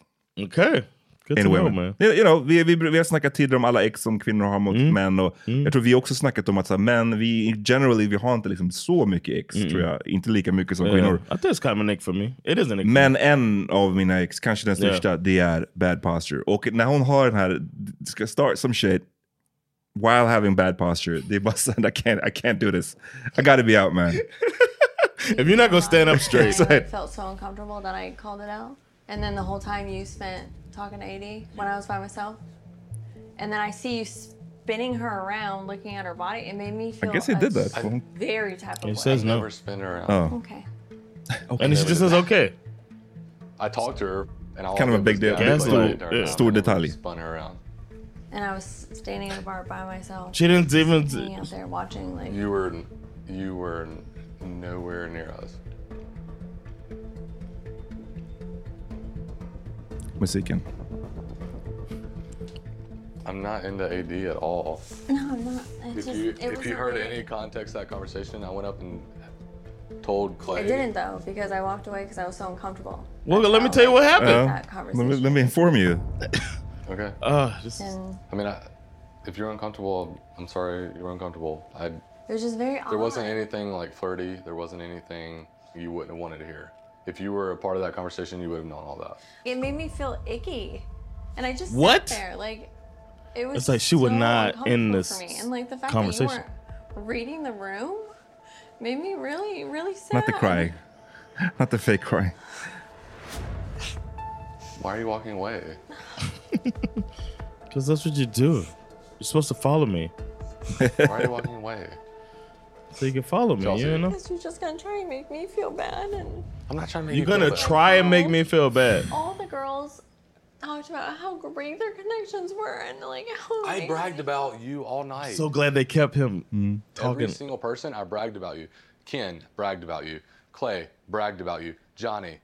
[SPEAKER 1] Okay. Good to know, man. Mm.
[SPEAKER 2] You you know, vi, vi, vi har snackat tidigare om alla ex som kvinnor har mot män. Och Jag tror vi har också snackat om att så här, män, vi generally, vi har inte liksom så mycket ex
[SPEAKER 1] Mm.
[SPEAKER 2] tror jag. Inte lika mycket som
[SPEAKER 1] Yeah.
[SPEAKER 2] kvinnor.
[SPEAKER 1] I think it's kind of an ick for me. It is an ick.
[SPEAKER 2] Men en av mina ex, kanske den
[SPEAKER 1] Yeah.
[SPEAKER 2] största, det är bad posture. Och när hon har den här, ska start some shit while having bad posture, det är bara så här, I can't, I can't do this. I gotta be out man.
[SPEAKER 1] If you're not gonna stand up straight.
[SPEAKER 14] I felt so uncomfortable that I called it out. And then the whole time you spent talking to AD when I was by myself. And then I see you spinning her around, looking at her body. It made me feel
[SPEAKER 2] guess he did that.
[SPEAKER 14] a very type of
[SPEAKER 1] He
[SPEAKER 14] way.
[SPEAKER 1] says no. Never
[SPEAKER 9] spin around.
[SPEAKER 2] Oh.
[SPEAKER 14] Okay.
[SPEAKER 1] And she just says okay.
[SPEAKER 9] I talked to her, and all
[SPEAKER 2] Kind of a
[SPEAKER 9] did
[SPEAKER 2] big
[SPEAKER 9] was
[SPEAKER 2] deal.
[SPEAKER 9] get
[SPEAKER 2] Big
[SPEAKER 9] her
[SPEAKER 2] stor,
[SPEAKER 9] around.
[SPEAKER 2] stor detalj.
[SPEAKER 9] Spun her around.
[SPEAKER 14] And I was standing at a bar by myself.
[SPEAKER 1] She didn't even-
[SPEAKER 14] Standing out there watching like
[SPEAKER 9] You were, you were nowhere near us.
[SPEAKER 2] Musiken.
[SPEAKER 9] I'm not into AD at all.
[SPEAKER 14] No, I'm not. It
[SPEAKER 9] If
[SPEAKER 14] just,
[SPEAKER 9] you
[SPEAKER 14] it
[SPEAKER 9] if
[SPEAKER 14] was
[SPEAKER 9] you heard any context of that conversation, I went up and told Clay.
[SPEAKER 14] I didn't though because I walked away because I was so uncomfortable.
[SPEAKER 1] Well, let me tell you what happened.
[SPEAKER 14] That
[SPEAKER 2] Let me, let me inform you.
[SPEAKER 9] Okay.
[SPEAKER 1] Uh,
[SPEAKER 14] And
[SPEAKER 9] I mean, I, if you're uncomfortable, I'm sorry you're uncomfortable. I.
[SPEAKER 14] it was just very
[SPEAKER 9] There
[SPEAKER 14] odd.
[SPEAKER 9] wasn't anything like flirty. There wasn't anything you wouldn't have wanted to hear. If you were a part of that conversation, you would have known all that.
[SPEAKER 14] It made me feel icky, and I just
[SPEAKER 1] What?
[SPEAKER 14] sat there like it was.
[SPEAKER 1] It's like she would
[SPEAKER 14] so
[SPEAKER 1] not end
[SPEAKER 14] uncomfortable
[SPEAKER 1] this
[SPEAKER 14] for me. and like the fact
[SPEAKER 1] conversation.
[SPEAKER 14] that you weren't reading the room made me really, really sad.
[SPEAKER 2] Not the cry. Not the fake cry.
[SPEAKER 9] Why are you walking away?
[SPEAKER 1] Because that's what you do. You're supposed to follow me. Why
[SPEAKER 9] Why are you walking away?
[SPEAKER 1] So you can follow me, you know?
[SPEAKER 14] Because you're just gonna try and make me feel bad, and
[SPEAKER 9] I'm not trying to
[SPEAKER 1] You're gonna try and make me feel bad.
[SPEAKER 14] all the girls talked about how great their connections were, and like how
[SPEAKER 9] I
[SPEAKER 14] amazing-
[SPEAKER 9] bragged about you all night.
[SPEAKER 1] So glad they kept him
[SPEAKER 9] Every
[SPEAKER 1] talking.
[SPEAKER 9] single person, I bragged about you. Ken bragged about you. Clay bragged about you. Johnny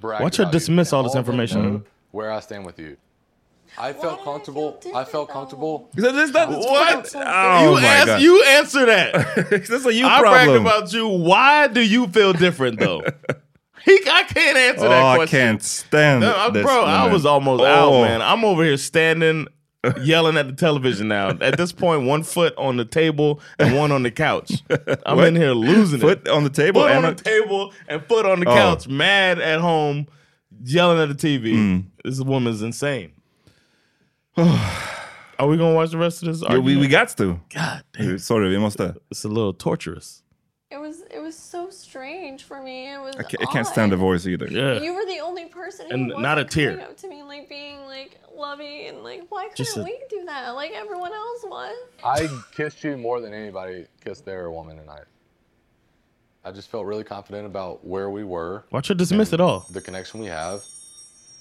[SPEAKER 9] bragged
[SPEAKER 1] Watch her
[SPEAKER 9] about
[SPEAKER 1] dismiss
[SPEAKER 9] you.
[SPEAKER 1] all
[SPEAKER 9] And
[SPEAKER 1] this
[SPEAKER 9] of them
[SPEAKER 1] information.
[SPEAKER 9] know Where I stand with you. I felt comfortable. I felt comfortable.
[SPEAKER 1] what?
[SPEAKER 9] Oh
[SPEAKER 1] you,
[SPEAKER 9] my
[SPEAKER 1] ask,
[SPEAKER 9] God.
[SPEAKER 1] you answer that.
[SPEAKER 2] That's a you
[SPEAKER 1] I
[SPEAKER 2] problem.
[SPEAKER 1] bragged about you. Why do you feel different, though? he, I can't answer
[SPEAKER 2] Oh,
[SPEAKER 1] that
[SPEAKER 2] I
[SPEAKER 1] question.
[SPEAKER 2] can't stand
[SPEAKER 1] No, I-
[SPEAKER 2] this
[SPEAKER 1] bro, I
[SPEAKER 2] woman.
[SPEAKER 1] was almost
[SPEAKER 2] Oh.
[SPEAKER 1] out, man. I'm over here standing, yelling at the television now. At this point, one foot on the table and one on the couch. I'm
[SPEAKER 2] What?
[SPEAKER 1] in here losing it.
[SPEAKER 2] Foot on the table
[SPEAKER 1] Foot
[SPEAKER 2] and
[SPEAKER 1] on
[SPEAKER 2] a-
[SPEAKER 1] the table and foot on the
[SPEAKER 2] Oh.
[SPEAKER 1] couch, mad at home, yelling at the TV.
[SPEAKER 2] Hmm.
[SPEAKER 1] This woman's insane. Are we gonna watch the rest of this?
[SPEAKER 2] Yeah, we, we
[SPEAKER 1] argument?
[SPEAKER 2] got to. God damn. Sorry, we måste.
[SPEAKER 1] It's a little torturous.
[SPEAKER 14] It was it was so strange for me. It was.
[SPEAKER 2] I can't, I can't stand the voice either.
[SPEAKER 1] Yeah.
[SPEAKER 14] You were the only person who
[SPEAKER 1] And
[SPEAKER 14] wasn't
[SPEAKER 1] not a tear.
[SPEAKER 14] coming up to me like being like lovey and like why couldn't
[SPEAKER 9] Just a-
[SPEAKER 14] we do that like everyone else was.
[SPEAKER 9] I kissed you more than anybody kissed their woman tonight. I just felt really confident about where we were,
[SPEAKER 1] Watch her dismiss it all.
[SPEAKER 9] the connection we have,